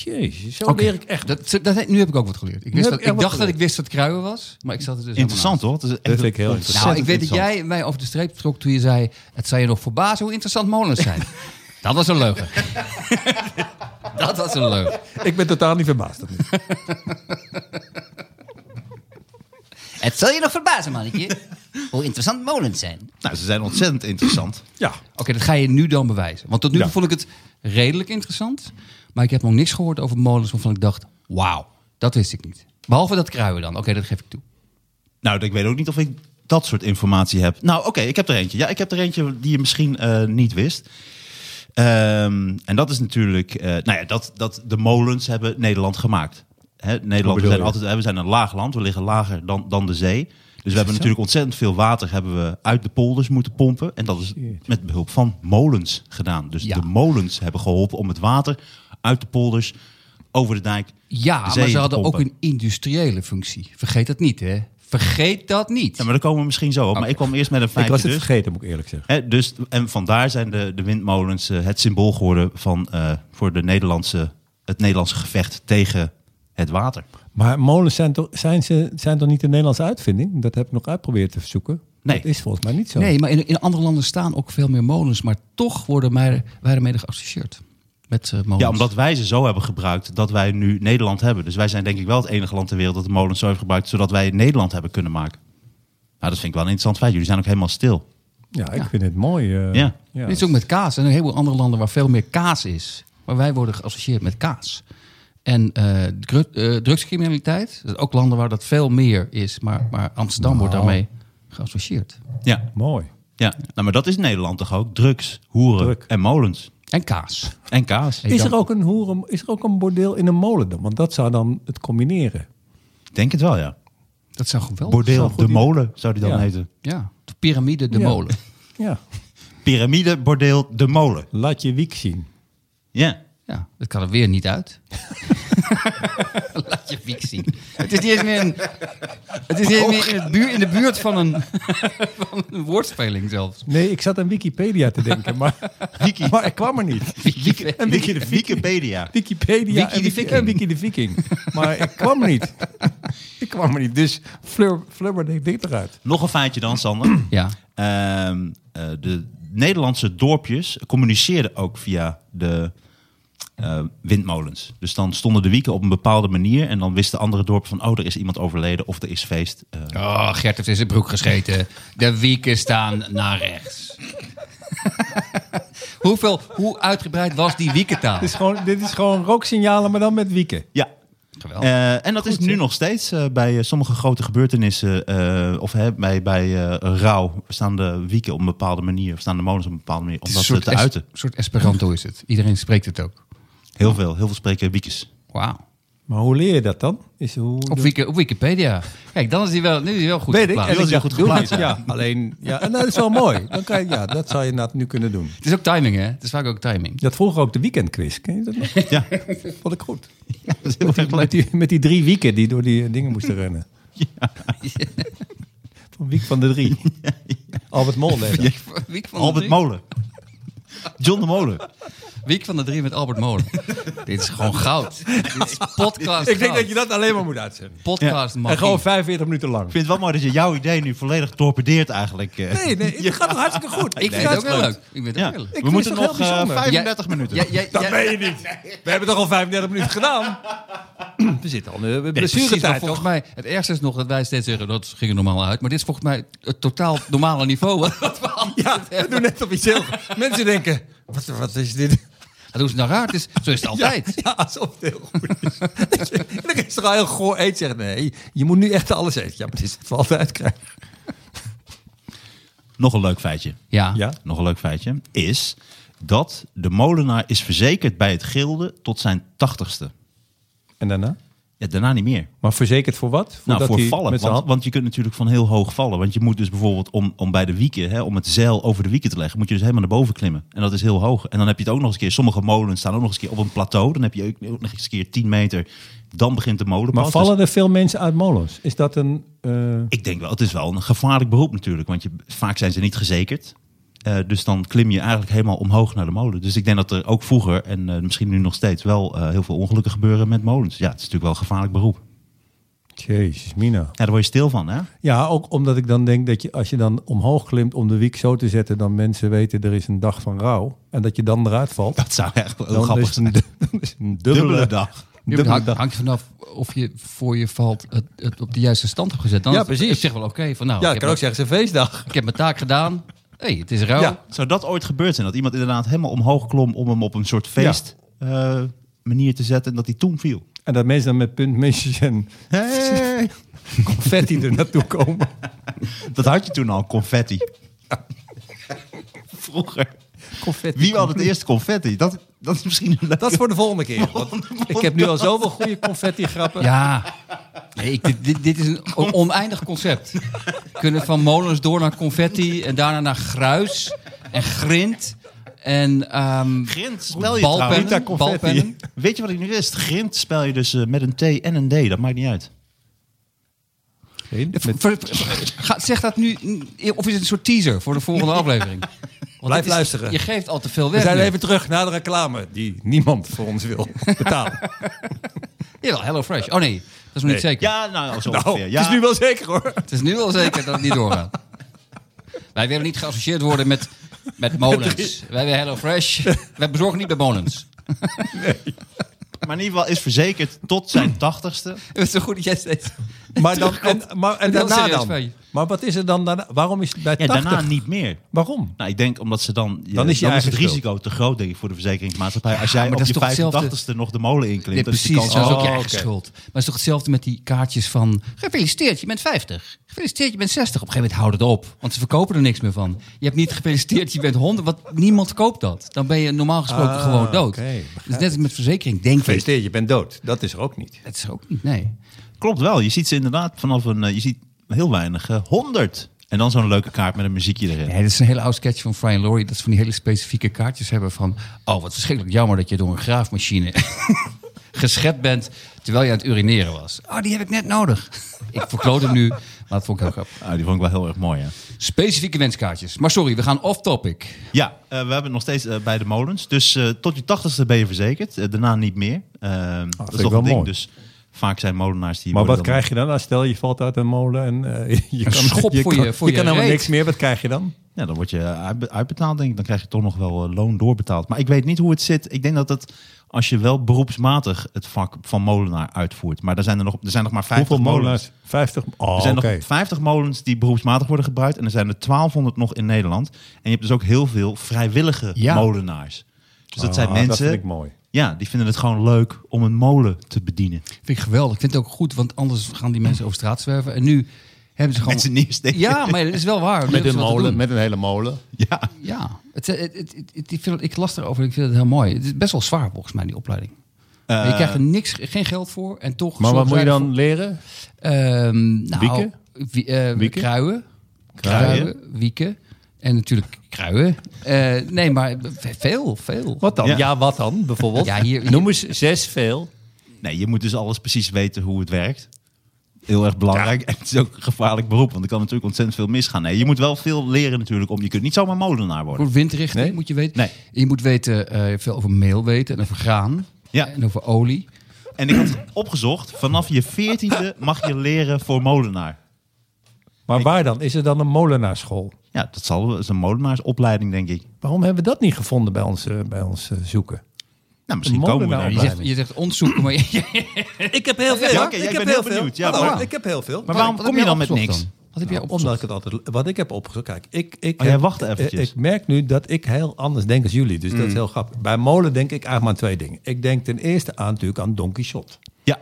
[SPEAKER 2] Jezus, zo
[SPEAKER 3] Oké.
[SPEAKER 2] leer ik echt.
[SPEAKER 3] Dat, dat, nu heb ik ook wat geleerd. Ik, wist
[SPEAKER 2] heb
[SPEAKER 3] dat,
[SPEAKER 2] ik
[SPEAKER 3] ik
[SPEAKER 2] echt
[SPEAKER 3] dacht
[SPEAKER 2] wat
[SPEAKER 3] dat ik wist dat kruien was, maar ik zat er dus helemaal
[SPEAKER 1] interessant hoor. Dat, is echt
[SPEAKER 2] vind ik heel
[SPEAKER 3] naast. Nou, ik weet dat
[SPEAKER 1] ontzettend
[SPEAKER 3] jij mij over de streep trok toen je zei... het zou je nog verbazen hoe interessant molens zijn. <laughs> dat was een leugen. <laughs> dat was een leugen.
[SPEAKER 2] Ik ben totaal niet verbaasd.
[SPEAKER 3] Het zal je nog verbazen, mannetje. hoe interessant molens zijn. Oké,
[SPEAKER 1] Nou, ze zijn ontzettend interessant.
[SPEAKER 2] Ja,
[SPEAKER 3] dat ga je nu dan bewijzen. Want tot nu toe
[SPEAKER 2] Ja.
[SPEAKER 3] vond ik het redelijk interessant. Maar ik heb nog niks gehoord over molens waarvan ik dacht... wauw, dat wist ik niet. Behalve dat kruien dan. Oké, dat geef ik toe.
[SPEAKER 1] Nou, ik weet ook niet of ik dat soort informatie heb. Nou, oké, ik heb er eentje. Ja, ik heb er eentje die je misschien eh, niet wist. Ehm, en dat is natuurlijk, eh, nou ja, dat, dat de molens hebben Nederland gemaakt. Hè, Nederland, we
[SPEAKER 2] bedoel
[SPEAKER 1] zijn,
[SPEAKER 2] je?
[SPEAKER 1] altijd, hè, we zijn een laag land, we liggen lager dan, dan de zee. Dus we hebben natuurlijk ontzettend veel water hebben we uit de polders moeten pompen. En dat is met behulp van molens gedaan. Dus
[SPEAKER 3] Ja.
[SPEAKER 1] de molens hebben geholpen om het water uit de polders over de dijk
[SPEAKER 3] Ja,
[SPEAKER 1] de zee
[SPEAKER 3] maar
[SPEAKER 1] in
[SPEAKER 3] ze
[SPEAKER 1] te
[SPEAKER 3] hadden ook
[SPEAKER 1] pompen.
[SPEAKER 3] een industriële functie. Vergeet dat niet, hè? Vergeet dat niet.
[SPEAKER 1] Ja, maar daar komen we misschien zo op. Maar
[SPEAKER 3] Oké.
[SPEAKER 1] ik kwam eerst met een
[SPEAKER 2] ik
[SPEAKER 1] feitje
[SPEAKER 2] was het
[SPEAKER 1] dus.
[SPEAKER 2] vergeten, moet ik eerlijk zeggen.
[SPEAKER 1] Hè, dus, en vandaar zijn de, de windmolens eh, het symbool geworden van, eh, voor de Nederlandse, het Nederlandse gevecht tegen het water.
[SPEAKER 2] Maar molens zijn toch, zijn, ze, zijn toch niet een Nederlandse uitvinding? Dat heb ik nog uitgeprobeerd te zoeken.
[SPEAKER 1] Nee.
[SPEAKER 2] Dat is volgens mij niet zo.
[SPEAKER 3] Nee, maar in, in andere landen staan ook veel meer molens. Maar toch worden mij, wij ermee geassocieerd. Met eh, molens.
[SPEAKER 1] Ja, omdat wij ze zo hebben gebruikt dat wij nu Nederland hebben. Dus wij zijn denk ik wel het enige land ter wereld dat de molens zo heeft gebruikt, zodat wij Nederland hebben kunnen maken. Nou, dat vind ik wel een interessant feit. Jullie zijn ook helemaal stil.
[SPEAKER 2] Ja, ik vind het mooi. eh,
[SPEAKER 1] Ja.
[SPEAKER 3] Dit is ook met kaas. Er zijn een heleboel andere landen waar veel meer kaas is. Maar wij worden geassocieerd met kaas. En eh, dru- eh, drugscriminaliteit. Dat zijn ook landen waar dat veel meer is. Maar, maar Amsterdam wordt
[SPEAKER 1] Nou.
[SPEAKER 3] daarmee geassocieerd.
[SPEAKER 1] Ja,
[SPEAKER 2] Mooi.
[SPEAKER 1] ja. Nou, maar dat is Nederland toch ook? Drugs, hoeren
[SPEAKER 2] Druk.
[SPEAKER 1] en molens.
[SPEAKER 3] En kaas.
[SPEAKER 1] En kaas.
[SPEAKER 3] Hey,
[SPEAKER 2] Is
[SPEAKER 3] dan-
[SPEAKER 2] er, ook een hoeren, is er ook een bordeel in een molen dan? Want dat zou dan het combineren.
[SPEAKER 1] Ik denk het wel, ja.
[SPEAKER 3] Dat zou geweldig
[SPEAKER 1] Bordeel,
[SPEAKER 2] Zo'n goed
[SPEAKER 1] de
[SPEAKER 2] idee.
[SPEAKER 1] molen zou die dan
[SPEAKER 2] Ja.
[SPEAKER 1] heten.
[SPEAKER 3] Ja, de piramide de
[SPEAKER 2] Ja.
[SPEAKER 3] molen.
[SPEAKER 2] Ja.
[SPEAKER 1] Piramide, bordeel, de molen.
[SPEAKER 2] Laat je wiek zien.
[SPEAKER 1] Ja.
[SPEAKER 3] Ja, dat kan er weer niet uit. <laughs> Laat je wiek zien. Het is niet eens meer, een, het is niet eens meer in, het buur, in de buurt van een, <laughs> van een woordspeling zelfs.
[SPEAKER 2] Nee, ik zat aan Wikipedia te denken, maar,
[SPEAKER 1] Wiki.
[SPEAKER 2] maar ik kwam er niet.
[SPEAKER 3] Wiki-
[SPEAKER 1] En Wiki de Wikipedia.
[SPEAKER 2] Wikipedia
[SPEAKER 3] Wiki
[SPEAKER 2] en,
[SPEAKER 3] de
[SPEAKER 2] Wiki,
[SPEAKER 3] Viking.
[SPEAKER 2] en Wiki de Viking. Maar ik kwam er niet. Ik kwam er niet, dus Fleur, Flubber deed dit eruit.
[SPEAKER 1] Nog een feitje dan, Sander.
[SPEAKER 3] <clears throat> Ja.
[SPEAKER 1] Ehm, eh, de Nederlandse dorpjes communiceerden ook via de eh, windmolens. Dus dan stonden de wieken op een bepaalde manier. En dan wisten andere dorpen van, oh, er is iemand overleden of er is feest. Eh,
[SPEAKER 3] Oh, Gert heeft in zijn broek gescheten. De wieken staan naar rechts. <laughs> Hoeveel, hoe uitgebreid was die wiekentaal?
[SPEAKER 2] Dit is gewoon, dit is gewoon rooksignalen, maar dan met wieken.
[SPEAKER 1] ja.
[SPEAKER 3] Geweldig.
[SPEAKER 1] Eh, en dat is nu nog steeds eh, bij eh, sommige grote gebeurtenissen. eh, of hè, bij, bij eh, rouw staan de wieken op een bepaalde manier. Of staan de molens op een bepaalde manier. Om dat eh, te
[SPEAKER 3] es-
[SPEAKER 1] uiten.
[SPEAKER 3] soort Esperanto is het. Iedereen spreekt het ook.
[SPEAKER 1] Heel veel. Heel veel spreken wiekes. <laughs>
[SPEAKER 3] Wauw.
[SPEAKER 2] Maar hoe leer je dat dan? Is hoe
[SPEAKER 3] Op, Wiki- op Wikipedia. Kijk, dan is die wel, nu is die wel goed
[SPEAKER 2] Weet ik,
[SPEAKER 3] geplaatst.
[SPEAKER 2] en
[SPEAKER 1] Die was
[SPEAKER 2] ik
[SPEAKER 1] heel
[SPEAKER 2] dacht,
[SPEAKER 1] goed
[SPEAKER 2] doe
[SPEAKER 1] geplaatst,
[SPEAKER 2] het.
[SPEAKER 1] ja.
[SPEAKER 2] Ja, alleen, ja, en dat is wel mooi. Dan kan je, ja, dat zou je inderdaad nu kunnen doen.
[SPEAKER 3] Het is ook timing, hè? Het is vaak ook timing.
[SPEAKER 2] Je had vroeger ook de weekendquiz, ken je dat nog?
[SPEAKER 1] <laughs> Ja.
[SPEAKER 2] Vond ik goed.
[SPEAKER 1] Dat is heel erg leuk.
[SPEAKER 2] Met die, met die drie wieken die door die eh, dingen moesten rennen.
[SPEAKER 1] <laughs>
[SPEAKER 2] <laughs> Van wiek van de
[SPEAKER 1] <laughs>
[SPEAKER 2] drie. Albert Mol deed dat.
[SPEAKER 3] Wiek van,
[SPEAKER 1] Albert
[SPEAKER 3] de drie,
[SPEAKER 1] Molen. John de Molen.
[SPEAKER 3] Wiek van de drie met Albert Molen. Dit is gewoon goud. Dit is podcast
[SPEAKER 2] Ik denk
[SPEAKER 3] goud.
[SPEAKER 2] dat je dat alleen maar moet uitzenden.
[SPEAKER 3] Podcast magie.
[SPEAKER 2] En gewoon 45 minuten lang.
[SPEAKER 1] Ik vind het wel mooi dat je jouw idee nu volledig torpedeert eigenlijk. eh.
[SPEAKER 2] Nee, nee, het gaat nog hartstikke goed.
[SPEAKER 3] Ik vind het ook wel leuk. Ik vind het
[SPEAKER 1] Ja.
[SPEAKER 3] ook wel leuk.
[SPEAKER 1] We
[SPEAKER 2] vind het
[SPEAKER 1] moeten
[SPEAKER 2] toch heel
[SPEAKER 1] nog eh,
[SPEAKER 2] bijzonder.
[SPEAKER 1] 35
[SPEAKER 3] Jij-
[SPEAKER 1] minuten.
[SPEAKER 3] Jij- jij-
[SPEAKER 2] Dat
[SPEAKER 3] jij-
[SPEAKER 2] meen je niet. We hebben toch al 35 minuten gedaan? We zitten al in de
[SPEAKER 3] Precies, maar
[SPEAKER 2] blessuretijd,
[SPEAKER 3] volgens
[SPEAKER 2] toch?
[SPEAKER 3] mij, het ergste is nog dat wij steeds zeggen, dat ging er normaal uit. Maar dit is volgens mij het totaal normale niveau.
[SPEAKER 2] <laughs>
[SPEAKER 3] Wat we altijd
[SPEAKER 2] Ja, we
[SPEAKER 3] hebben.
[SPEAKER 2] doen net op iets heel... Mensen denken, wat, wat is dit?
[SPEAKER 3] Dat doen ze nou raar. Het is, zo is het altijd.
[SPEAKER 2] <laughs> Ja, alsof het heel goed is. <laughs> Dan is toch al heel goor eten. Zeggen, nee, je moet nu echt alles eten. Ja, maar dit is wat we altijd krijgen.
[SPEAKER 1] Nog een leuk feitje.
[SPEAKER 3] Ja.
[SPEAKER 2] Ja.
[SPEAKER 1] Nog een leuk feitje is dat de molenaar is verzekerd bij het gilde tot zijn tachtigste.
[SPEAKER 2] En daarna?
[SPEAKER 1] Ja, daarna niet meer.
[SPEAKER 2] Maar verzekerd voor wat?
[SPEAKER 1] Nou,
[SPEAKER 2] Voordat
[SPEAKER 1] voor
[SPEAKER 2] hij
[SPEAKER 1] vallen.
[SPEAKER 2] Met zijn
[SPEAKER 1] Want,
[SPEAKER 2] hand...
[SPEAKER 1] want je kunt natuurlijk van heel hoog vallen. Want je moet dus bijvoorbeeld om, om bij de wieken, hè, om het zeil over de wieken te leggen, moet je dus helemaal naar boven klimmen. En dat is heel hoog. En dan heb je het ook nog eens een keer. Sommige molens staan ook nog eens een keer op een plateau. Dan heb je ook nog eens een keer 10 meter. Dan begint de molen.
[SPEAKER 2] Maar vallen er veel mensen uit molens? Is dat een... eh,
[SPEAKER 1] Ik denk wel, het is wel een gevaarlijk beroep natuurlijk. Want je, vaak zijn ze niet gezekerd. Eh, dus dan klim je eigenlijk helemaal omhoog naar de molen. Dus ik denk dat er ook vroeger en eh, misschien nu nog steeds wel eh, heel veel ongelukken gebeuren met molens. Ja, het is natuurlijk wel een gevaarlijk beroep. Ja,
[SPEAKER 2] Jezus, mina.
[SPEAKER 1] daar word je stil van, hè? <laughs>
[SPEAKER 2] Ja, ook omdat ik dan denk dat je als je dan omhoog klimt om de wiek zo te zetten, dan mensen weten er is een dag van rouw. En dat je dan eruit valt.
[SPEAKER 1] Dat zou echt wel heel
[SPEAKER 2] dan
[SPEAKER 1] grappig
[SPEAKER 2] is het
[SPEAKER 1] zijn.
[SPEAKER 2] een, <laughs> dan is het een dubbele,
[SPEAKER 1] Dubbele dag.
[SPEAKER 3] Ja, maar het hangt, hangt vanaf of je voor je valt het, het op de juiste stand hebt gezet. Dan
[SPEAKER 2] Ja,
[SPEAKER 3] is het
[SPEAKER 2] precies.
[SPEAKER 3] op zich wel oké. van nou,
[SPEAKER 2] Ja,
[SPEAKER 3] ik,
[SPEAKER 2] ik kan
[SPEAKER 3] heb
[SPEAKER 2] ook
[SPEAKER 3] mijn,
[SPEAKER 2] zeggen, het is een feestdag.
[SPEAKER 3] ik heb mijn taak gedaan. hey, het is rauw.
[SPEAKER 2] Ja.
[SPEAKER 1] Zou dat ooit gebeurd zijn? Dat iemand inderdaad helemaal omhoog klom om hem op een soort feest eh, manier te zetten en dat hij toen viel?
[SPEAKER 2] En dat mensen dan met puntmesjes en <laughs>
[SPEAKER 1] Hey!
[SPEAKER 2] confetti er naartoe komen.
[SPEAKER 1] <laughs> Dat had je toen al, confetti. <laughs> Vroeger.
[SPEAKER 2] Confetti.
[SPEAKER 1] Wie had het eerst confetti? Dat, dat is misschien een leuke-
[SPEAKER 2] Dat is voor de volgende <laughs> keer. want ik heb nu al zoveel goede confetti-grappen.
[SPEAKER 3] Ja. Nee, ik, dit- dit, dit is een o- oneindig concept. We kunnen van molens door naar confetti en daarna naar gruis en grind. En ehm,
[SPEAKER 1] Grind spel je
[SPEAKER 3] Balpennen,
[SPEAKER 1] trouwens.
[SPEAKER 3] Rita confetti. balpennen.
[SPEAKER 1] Weet je wat ik nu wist? Grind spel je dus eh, met een T en een D. Dat maakt niet uit.
[SPEAKER 2] Met-
[SPEAKER 3] ver- ver- ver- ga- zeg dat nu, n- of is het een soort teaser voor de
[SPEAKER 1] <laughs>
[SPEAKER 3] volgende aflevering? Want dit is-
[SPEAKER 2] luisteren.
[SPEAKER 3] Je geeft al te veel
[SPEAKER 2] We
[SPEAKER 3] weg.
[SPEAKER 2] zijn
[SPEAKER 3] nu.
[SPEAKER 2] even terug naar de reclame die niemand voor ons wil <laughs> betalen.
[SPEAKER 3] Jawel, Hello Fresh. Oh nee, dat is nog niet zeker.
[SPEAKER 1] Ja, nou, zo
[SPEAKER 2] Nou,
[SPEAKER 1] ongeveer.
[SPEAKER 2] het
[SPEAKER 1] Ja.
[SPEAKER 2] is nu wel zeker hoor.
[SPEAKER 3] Het is nu al zeker dat het niet
[SPEAKER 1] <laughs>
[SPEAKER 3] doorgaat. Wij willen niet geassocieerd worden met, met molens. Wij willen Hello Fresh. Wij bezorgen niet bij molens.
[SPEAKER 1] Maar in ieder geval is verzekerd tot <clears throat> zijn tachtigste.
[SPEAKER 3] Het is zo goed <laughs> dat jij steeds...
[SPEAKER 2] Maar, dan, en, maar, en
[SPEAKER 3] Heel
[SPEAKER 2] daarna
[SPEAKER 3] serieus
[SPEAKER 2] dan?
[SPEAKER 3] van je.
[SPEAKER 2] Maar wat is er dan daarna? Waarom is het bij
[SPEAKER 1] Ja,
[SPEAKER 2] 80?
[SPEAKER 1] daarna niet meer.
[SPEAKER 2] Waarom?
[SPEAKER 1] Nou, ik denk omdat ze dan... je-
[SPEAKER 2] Dan is je eigen
[SPEAKER 1] het
[SPEAKER 2] schuld.
[SPEAKER 1] risico te groot, denk ik, voor de verzekeringsmaatschappij. Als jij
[SPEAKER 3] maar
[SPEAKER 1] op
[SPEAKER 3] dat is
[SPEAKER 1] je
[SPEAKER 3] toch hetzelfde-
[SPEAKER 1] 85ste nog de molen inklimt,
[SPEAKER 3] Nee,
[SPEAKER 1] dan is die
[SPEAKER 3] precies,
[SPEAKER 1] kans
[SPEAKER 3] dat is ook
[SPEAKER 1] Oh,
[SPEAKER 3] je eigen
[SPEAKER 1] oké.
[SPEAKER 3] schuld. Maar het is toch hetzelfde met die kaartjes van... Gefeliciteerd, je bent 50. Gefeliciteerd, je bent 60. Op een gegeven moment houdt het op. Want ze verkopen er niks meer van. Je hebt niet gefeliciteerd, je bent 100. Want niemand koopt dat. Dan ben je normaal gesproken
[SPEAKER 2] Ah,
[SPEAKER 3] gewoon dood.
[SPEAKER 2] oké, begrijp
[SPEAKER 3] dus net als met verzekering, denk ik.
[SPEAKER 2] je bent dood. Dat is er ook niet.
[SPEAKER 3] Het is ook niet, nee.
[SPEAKER 1] Klopt wel. Je ziet ze inderdaad vanaf een... eh, Je ziet heel weinig. eh, 100. En dan zo'n leuke kaart met een muziekje erin.
[SPEAKER 3] Nee, dat is een hele oude sketch van Brian Laurie. Dat ze van die hele specifieke kaartjes hebben van... Oh, wat verschrikkelijk jammer dat je door een graafmachine <laughs> geschept bent... terwijl je aan het urineren was. Oh, die heb ik net nodig. ik verkloot hem nu, maar dat vond ik heel grappig.
[SPEAKER 1] Ah, die vond ik wel heel erg mooi, hè?
[SPEAKER 3] Specifieke wenskaartjes. Maar sorry, we gaan off-topic.
[SPEAKER 1] Ja, eh, we hebben het nog steeds eh, bij de molens. Dus eh, tot je tachtigste ben je verzekerd. Eh, daarna niet meer. Ehm,
[SPEAKER 3] Ah,
[SPEAKER 1] dat
[SPEAKER 2] vind
[SPEAKER 1] is
[SPEAKER 2] ik
[SPEAKER 1] toch
[SPEAKER 2] wel
[SPEAKER 1] een ding.
[SPEAKER 2] mooi.
[SPEAKER 1] Dus vaak zijn molenaars die...
[SPEAKER 2] Maar wat
[SPEAKER 1] worden dan-
[SPEAKER 2] krijg je dan? Als stel je valt uit een molen en eh, <laughs> je kan,
[SPEAKER 3] schop
[SPEAKER 2] je
[SPEAKER 3] voor
[SPEAKER 2] kan,
[SPEAKER 3] je- voor je
[SPEAKER 2] kan helemaal
[SPEAKER 3] reet.
[SPEAKER 2] niks meer. Wat krijg je dan?
[SPEAKER 1] Ja, dan word je uitbe- uitbetaald, denk ik. Dan krijg je toch nog wel eh, loon doorbetaald. Maar ik weet niet hoe het zit. Ik denk dat het... Als je wel beroepsmatig het vak van molenaar uitvoert. Maar er zijn er nog, er zijn nog maar 50
[SPEAKER 2] Hoeveel
[SPEAKER 1] molens.
[SPEAKER 2] molens? 50. Oh,
[SPEAKER 1] Er zijn
[SPEAKER 2] oké.
[SPEAKER 1] nog 50 molens die beroepsmatig worden gebruikt. En er zijn er 1200 nog in Nederland. En je hebt dus ook heel veel vrijwillige
[SPEAKER 3] Ja.
[SPEAKER 1] molenaars. Dus dat zijn
[SPEAKER 2] Ah, dat
[SPEAKER 1] mensen...
[SPEAKER 2] vind ik mooi.
[SPEAKER 1] Ja, die vinden het gewoon leuk om een molen te bedienen.
[SPEAKER 3] Vind ik geweldig. Ik vind het ook goed, want anders gaan die mensen over straat zwerven. En nu hebben ze gewoon...
[SPEAKER 1] Mensen neersteken.
[SPEAKER 3] Ja, maar dat is wel waar. Nu hebben ze wat te doen.
[SPEAKER 2] met een hele molen.
[SPEAKER 1] Ja.
[SPEAKER 3] Ja, het, eh, het, het, het- het- ik, vind het- ik las erover en ik vind het heel mooi. Het is best wel zwaar volgens mij, die opleiding.
[SPEAKER 1] Eh.
[SPEAKER 3] je krijgt er niks, geen geld voor en toch...
[SPEAKER 2] Maar wat
[SPEAKER 3] zorgen
[SPEAKER 2] moet je
[SPEAKER 3] zij
[SPEAKER 2] dan leren?
[SPEAKER 3] ervoor- Ehm, nou,
[SPEAKER 2] Wieken?
[SPEAKER 3] wie- eh,
[SPEAKER 2] Wieken?
[SPEAKER 3] Kruien.
[SPEAKER 1] Kruien.
[SPEAKER 3] Wieken. En natuurlijk kruien. Eh, nee, maar ve- veel, veel.
[SPEAKER 2] Wat dan?
[SPEAKER 1] Ja.
[SPEAKER 2] Ja, wat dan? Bijvoorbeeld.
[SPEAKER 3] Ja, hier- hier-
[SPEAKER 2] Noem eens zes veel.
[SPEAKER 1] Nee, je moet dus alles precies weten hoe het werkt. Heel erg belangrijk. En het is ook een gevaarlijk beroep, want er kan natuurlijk ontzettend veel misgaan. Nee, je moet wel veel leren natuurlijk. Om, je kunt niet zomaar molenaar worden.
[SPEAKER 3] Goed, windrichting
[SPEAKER 2] Nee?
[SPEAKER 3] moet je weten.
[SPEAKER 1] Nee.
[SPEAKER 3] Je moet weten, eh, veel over meel weten en over graan.
[SPEAKER 1] Ja.
[SPEAKER 3] En over olie.
[SPEAKER 1] En ik had opgezocht, vanaf je veertiende mag je leren voor molenaar.
[SPEAKER 2] Maar waar dan? Is er dan een molenaarschool?
[SPEAKER 1] Ja, dat zal dat is een molenaarsopleiding, denk ik.
[SPEAKER 2] Waarom hebben we dat niet gevonden bij ons, eh, bij ons eh, zoeken?
[SPEAKER 1] Nou, misschien
[SPEAKER 2] Een
[SPEAKER 1] komen we daar.
[SPEAKER 3] Je
[SPEAKER 2] molenaaropleiding.
[SPEAKER 3] zegt, je zegt ons zoeken, maar je-
[SPEAKER 2] Ik heb heel veel.
[SPEAKER 1] Ja, oké, ik ben heel benieuwd. Ja,
[SPEAKER 2] Hallo,
[SPEAKER 1] maar-
[SPEAKER 2] ik heb heel veel.
[SPEAKER 1] Maar waarom
[SPEAKER 3] <laughs> Wat
[SPEAKER 1] kom
[SPEAKER 3] heb
[SPEAKER 1] je
[SPEAKER 3] jij
[SPEAKER 1] dan met
[SPEAKER 3] opgezocht
[SPEAKER 1] niks?
[SPEAKER 3] dan? Nou, Wat heb jij opgezocht?
[SPEAKER 2] Omdat ik het altijd, wat ik heb opgezocht. Kijk, ik, ik,
[SPEAKER 1] Oh, jij
[SPEAKER 2] heb- eh,
[SPEAKER 1] wacht eventjes. Mm.
[SPEAKER 2] Ik merk nu dat ik heel anders denk als jullie. Dus dat is heel grappig. Bij molen denk ik eigenlijk maar aan twee dingen. Ik denk ten eerste aan natuurlijk aan Don Quixote.
[SPEAKER 1] Ja.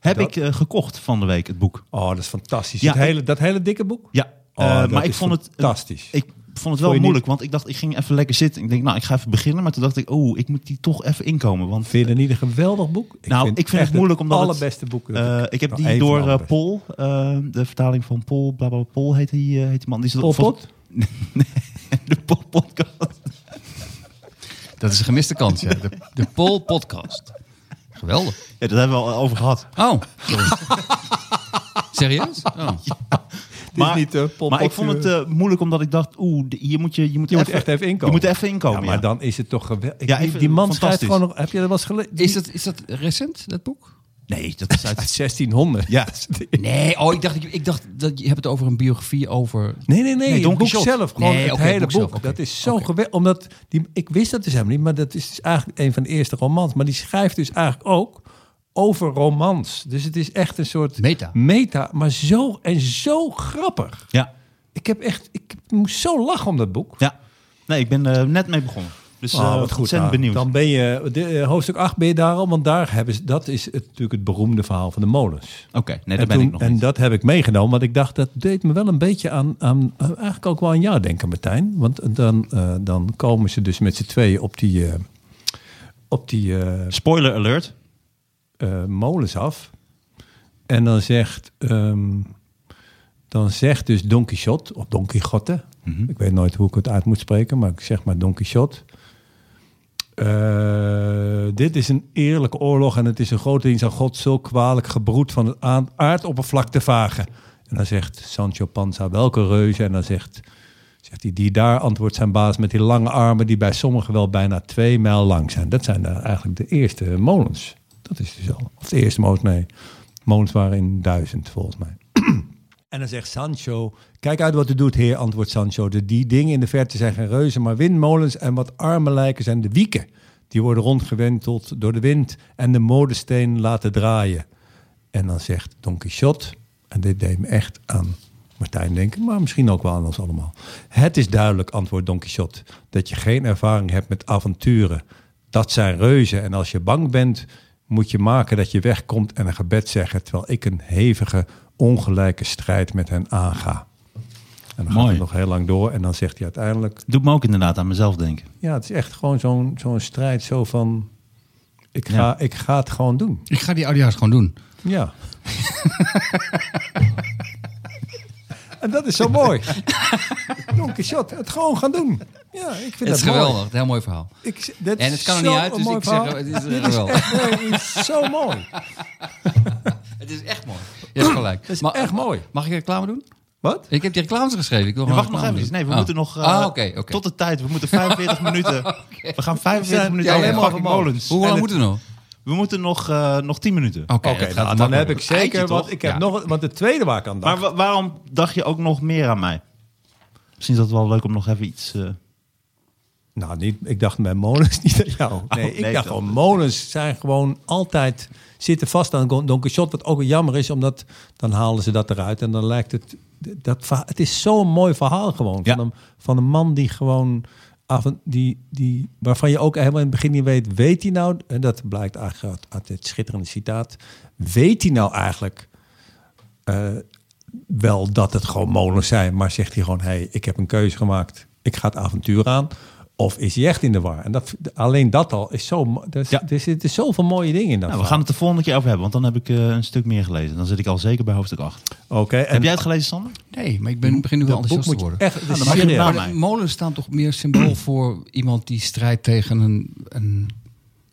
[SPEAKER 1] Heb
[SPEAKER 2] Dat-
[SPEAKER 1] ik eh, gekocht van de week, het boek.
[SPEAKER 2] Oh, dat is fantastisch.
[SPEAKER 1] Ja,
[SPEAKER 2] dat, hele, dat hele dikke boek?
[SPEAKER 1] Ja,
[SPEAKER 2] Oh,
[SPEAKER 1] eh,
[SPEAKER 2] dat
[SPEAKER 1] maar ik
[SPEAKER 2] is
[SPEAKER 1] vond het
[SPEAKER 2] fantastisch.
[SPEAKER 1] Ik, vond het wel
[SPEAKER 2] je niet-
[SPEAKER 1] moeilijk, want ik dacht, ik ging even lekker zitten. Ik denk, nou, ik ga even beginnen. Maar toen dacht ik, oh, ik moet die toch even inkomen. Want
[SPEAKER 2] Vind je het niet een geweldig boek?
[SPEAKER 1] nou, ik vind het moeilijk omdat
[SPEAKER 2] Het
[SPEAKER 1] het-
[SPEAKER 2] allerbeste boek. dat
[SPEAKER 1] eh, ik heb
[SPEAKER 2] nou,
[SPEAKER 1] die
[SPEAKER 2] één van
[SPEAKER 1] door
[SPEAKER 2] de
[SPEAKER 1] eh,
[SPEAKER 2] allerbeste.
[SPEAKER 1] Paul, eh, de vertaling van Paul, bla bla, Paul heet die, eh, heet die man. Die is
[SPEAKER 2] Pol
[SPEAKER 1] van-
[SPEAKER 2] Pot?
[SPEAKER 1] <laughs> de Paul podcast.
[SPEAKER 3] <laughs> Dat is een gemiste kans, ja. De, de Pol Podcast. Geweldig.
[SPEAKER 1] Ja, dat hebben we al over
[SPEAKER 2] <laughs>
[SPEAKER 1] gehad.
[SPEAKER 3] Oh, sorry. <laughs> Serieus? Oh.
[SPEAKER 1] Maar,
[SPEAKER 2] niet, eh, Paul
[SPEAKER 1] maar ik
[SPEAKER 2] Pot,
[SPEAKER 1] vond het eh, moeilijk omdat ik dacht, oeh, de- hier moet je, je moet
[SPEAKER 2] Je moet
[SPEAKER 1] even,
[SPEAKER 2] echt even inkomen.
[SPEAKER 1] Je moet even inkomen,
[SPEAKER 2] Ja, maar
[SPEAKER 1] ja.
[SPEAKER 2] dan is het toch geweldig.
[SPEAKER 1] Ja, ik
[SPEAKER 2] die,
[SPEAKER 1] vind
[SPEAKER 2] die
[SPEAKER 1] het
[SPEAKER 2] man schrijft
[SPEAKER 1] fantastisch.
[SPEAKER 2] gewoon nog... Heb je dat wel eens gelezen?
[SPEAKER 3] Is dat, is dat recent, dat boek?
[SPEAKER 1] Nee, dat
[SPEAKER 2] <laughs>
[SPEAKER 1] is uit...
[SPEAKER 2] Uit 1600. <laughs>
[SPEAKER 1] Ja.
[SPEAKER 3] Nee, oh, ik dacht, ik, ik dacht dat je hebt het over een biografie over.
[SPEAKER 2] Nee, nee, nee.
[SPEAKER 3] Don
[SPEAKER 2] het boek
[SPEAKER 3] Quixote.
[SPEAKER 2] zelf. Gewoon
[SPEAKER 3] Nee,
[SPEAKER 2] het
[SPEAKER 3] oké,
[SPEAKER 2] hele
[SPEAKER 3] boek
[SPEAKER 2] boek.
[SPEAKER 3] zelf, oké.
[SPEAKER 2] Dat is zo
[SPEAKER 3] Oké.
[SPEAKER 2] geweldig. Omdat die, ik wist dat dus helemaal niet. Maar dat is dus eigenlijk een van de eerste romans. Maar die schrijft dus eigenlijk ook over romans. Dus het is echt een soort
[SPEAKER 3] Meta.
[SPEAKER 2] meta maar zo en zo grappig.
[SPEAKER 1] Ja,
[SPEAKER 2] Ik heb echt, ik moest zo lachen om dat boek.
[SPEAKER 1] ja. Nee, ik ben eh, net mee begonnen. Dus eh
[SPEAKER 2] wat goed.
[SPEAKER 1] ontzettend
[SPEAKER 2] Nou,
[SPEAKER 1] benieuwd.
[SPEAKER 2] Dan ben je, de, eh, hoofdstuk 8 ben je daar al, want daar hebben ze, dat is het, natuurlijk het beroemde verhaal van de molens.
[SPEAKER 1] Oké, nee, daar
[SPEAKER 2] en,
[SPEAKER 1] ben
[SPEAKER 2] toen-
[SPEAKER 1] ik nog
[SPEAKER 2] en
[SPEAKER 1] niet.
[SPEAKER 2] dat heb ik meegenomen, want ik dacht dat deed me wel een beetje aan, aan eh, eigenlijk ook wel aan jou denken, Martijn. Want dan, eh, dan komen ze dus met z'n tweeën op die, eh, op die eh,
[SPEAKER 1] Spoiler alert.
[SPEAKER 2] eh, molens af. En dan zegt, ehm, dan zegt dus Don Quixote, of Don Quixote.
[SPEAKER 1] Mhm.
[SPEAKER 2] Ik weet nooit hoe ik het uit moet spreken, maar ik zeg maar Don Quixote. Eh, dit is een eerlijke oorlog en het is een grote dienst aan God, zo kwalijk gebroed van het aan- aardoppervlak te vagen. En dan zegt Sancho Panza, welke reuze? En dan zegt, zegt hij, die daar antwoordt zijn baas met die lange armen, die bij sommigen wel bijna twee mijl lang zijn. Dat zijn daar eigenlijk de eerste molens. Dat is dus al. Of de eerste molens, nee. Molens waren in duizend volgens mij. En dan zegt Sancho: Kijk uit wat u doet, heer, antwoordt Sancho. De, die dingen in de verte zijn geen reuzen, maar windmolens. En wat armen lijken zijn de wieken. Die worden rondgewenteld door de wind en de modesteen laten draaien. En dan zegt Don Quixote, en dit deed me echt aan Martijn denken, maar misschien ook wel aan ons allemaal. Het is duidelijk, antwoordt Don Quixote, dat je geen ervaring hebt met avonturen. Dat zijn reuzen en als je bang bent, moet je maken dat je wegkomt en een gebed zeggen, terwijl ik een hevige, ongelijke strijd met hen aanga. En dan
[SPEAKER 1] Mooi.
[SPEAKER 2] gaat het nog heel lang door en dan zegt hij uiteindelijk,
[SPEAKER 1] Doet me ook inderdaad aan mezelf denken.
[SPEAKER 2] ja, het is echt gewoon zo'n zo'n strijd, zo van, ik ga,
[SPEAKER 1] Ja.
[SPEAKER 2] ik ga het gewoon doen.
[SPEAKER 3] Ik ga die audio's gewoon doen.
[SPEAKER 2] Ja. <laughs> en dat is zo mooi. Don Quixote, het gewoon gaan doen. Ja, ik vind
[SPEAKER 3] Het
[SPEAKER 2] dat
[SPEAKER 3] is
[SPEAKER 2] mooi.
[SPEAKER 3] geweldig, een heel mooi verhaal.
[SPEAKER 2] Ik, dit
[SPEAKER 3] En het kan er
[SPEAKER 2] zo
[SPEAKER 3] niet uit,
[SPEAKER 2] een
[SPEAKER 3] dus
[SPEAKER 2] mooi
[SPEAKER 3] ik zeg,
[SPEAKER 2] verhaal.
[SPEAKER 3] het is
[SPEAKER 2] Dit is
[SPEAKER 3] geweldig.
[SPEAKER 2] echt nee, het is zo mooi.
[SPEAKER 3] Het is echt mooi. Je hebt gelijk.
[SPEAKER 2] is echt mooi.
[SPEAKER 3] Mag ik reclame doen?
[SPEAKER 2] Wat?
[SPEAKER 3] Ik heb die reclames geschreven. Ik wil
[SPEAKER 1] Ja,
[SPEAKER 3] gewoon
[SPEAKER 1] wacht nog
[SPEAKER 3] reclame
[SPEAKER 1] even.
[SPEAKER 3] doen.
[SPEAKER 1] Nee, we
[SPEAKER 3] Oh.
[SPEAKER 1] moeten nog... eh,
[SPEAKER 3] ah, oké, oké.
[SPEAKER 1] Tot de tijd. We moeten <laughs> 45 minuten... We gaan 45 minuten
[SPEAKER 3] Ja, ja,
[SPEAKER 1] alleen maar
[SPEAKER 3] fuck
[SPEAKER 1] over
[SPEAKER 3] it, man.
[SPEAKER 1] molens.
[SPEAKER 3] Hoe
[SPEAKER 1] En
[SPEAKER 3] lang
[SPEAKER 1] het-
[SPEAKER 3] moeten we nog?
[SPEAKER 1] We moeten nog, eh, nog 10 minuten.
[SPEAKER 3] Oké,
[SPEAKER 2] Oké,
[SPEAKER 3] het
[SPEAKER 2] nou,
[SPEAKER 3] gaat
[SPEAKER 2] dan
[SPEAKER 3] makkelijk.
[SPEAKER 2] heb ik zeker,
[SPEAKER 1] Eitje,
[SPEAKER 2] want
[SPEAKER 1] toch?
[SPEAKER 2] ik heb
[SPEAKER 3] Ja.
[SPEAKER 2] nog, want de tweede waar ik aan dacht.
[SPEAKER 1] Maar wa- waarom dacht je ook nog meer aan mij? Misschien is dat wel leuk om nog even iets... eh,
[SPEAKER 2] Nou, niet, ik dacht bij molens <laughs> niet aan jou. Nee, ik
[SPEAKER 1] Oh, nee,
[SPEAKER 2] dacht
[SPEAKER 1] dat-
[SPEAKER 2] gewoon, molens zijn gewoon altijd zitten vast aan Don- Don Quixote. Wat ook wel jammer is, omdat dan halen ze dat eruit. En dan lijkt het... Dat, verha- het is zo'n mooi verhaal gewoon.
[SPEAKER 1] Ja.
[SPEAKER 2] Van, een, van een man die gewoon... af en- Die, die, waarvan je ook helemaal in het begin niet weet... Weet hij nou... En dat blijkt eigenlijk uit, uit dit schitterende citaat. Weet hij nou eigenlijk wel dat het gewoon molens zijn, maar zegt hij gewoon: hé, hey, ik heb een keuze gemaakt, ik ga het avontuur aan. Of is hij echt in de war? En dat, alleen dat al is zo. mo- Er, is-
[SPEAKER 1] Ja.
[SPEAKER 2] er zitten zoveel mooie dingen in dat.
[SPEAKER 1] nou, we gaan het de volgende keer over hebben, want dan heb ik eh, een stuk meer gelezen. Dan zit ik al zeker bij hoofdstuk 8.
[SPEAKER 2] Oké, en
[SPEAKER 1] heb jij het gelezen, Sander?
[SPEAKER 3] Nee, maar ik ben, begin nu wel
[SPEAKER 2] dat boek
[SPEAKER 3] enthousiast te
[SPEAKER 2] moet je
[SPEAKER 3] worden.
[SPEAKER 2] echt. dat is
[SPEAKER 1] dan mag je
[SPEAKER 2] serieus.
[SPEAKER 1] hem
[SPEAKER 3] Maar
[SPEAKER 1] Aan
[SPEAKER 3] de
[SPEAKER 1] mij.
[SPEAKER 3] molens staan toch meer symbool voor iemand die strijdt tegen een, een,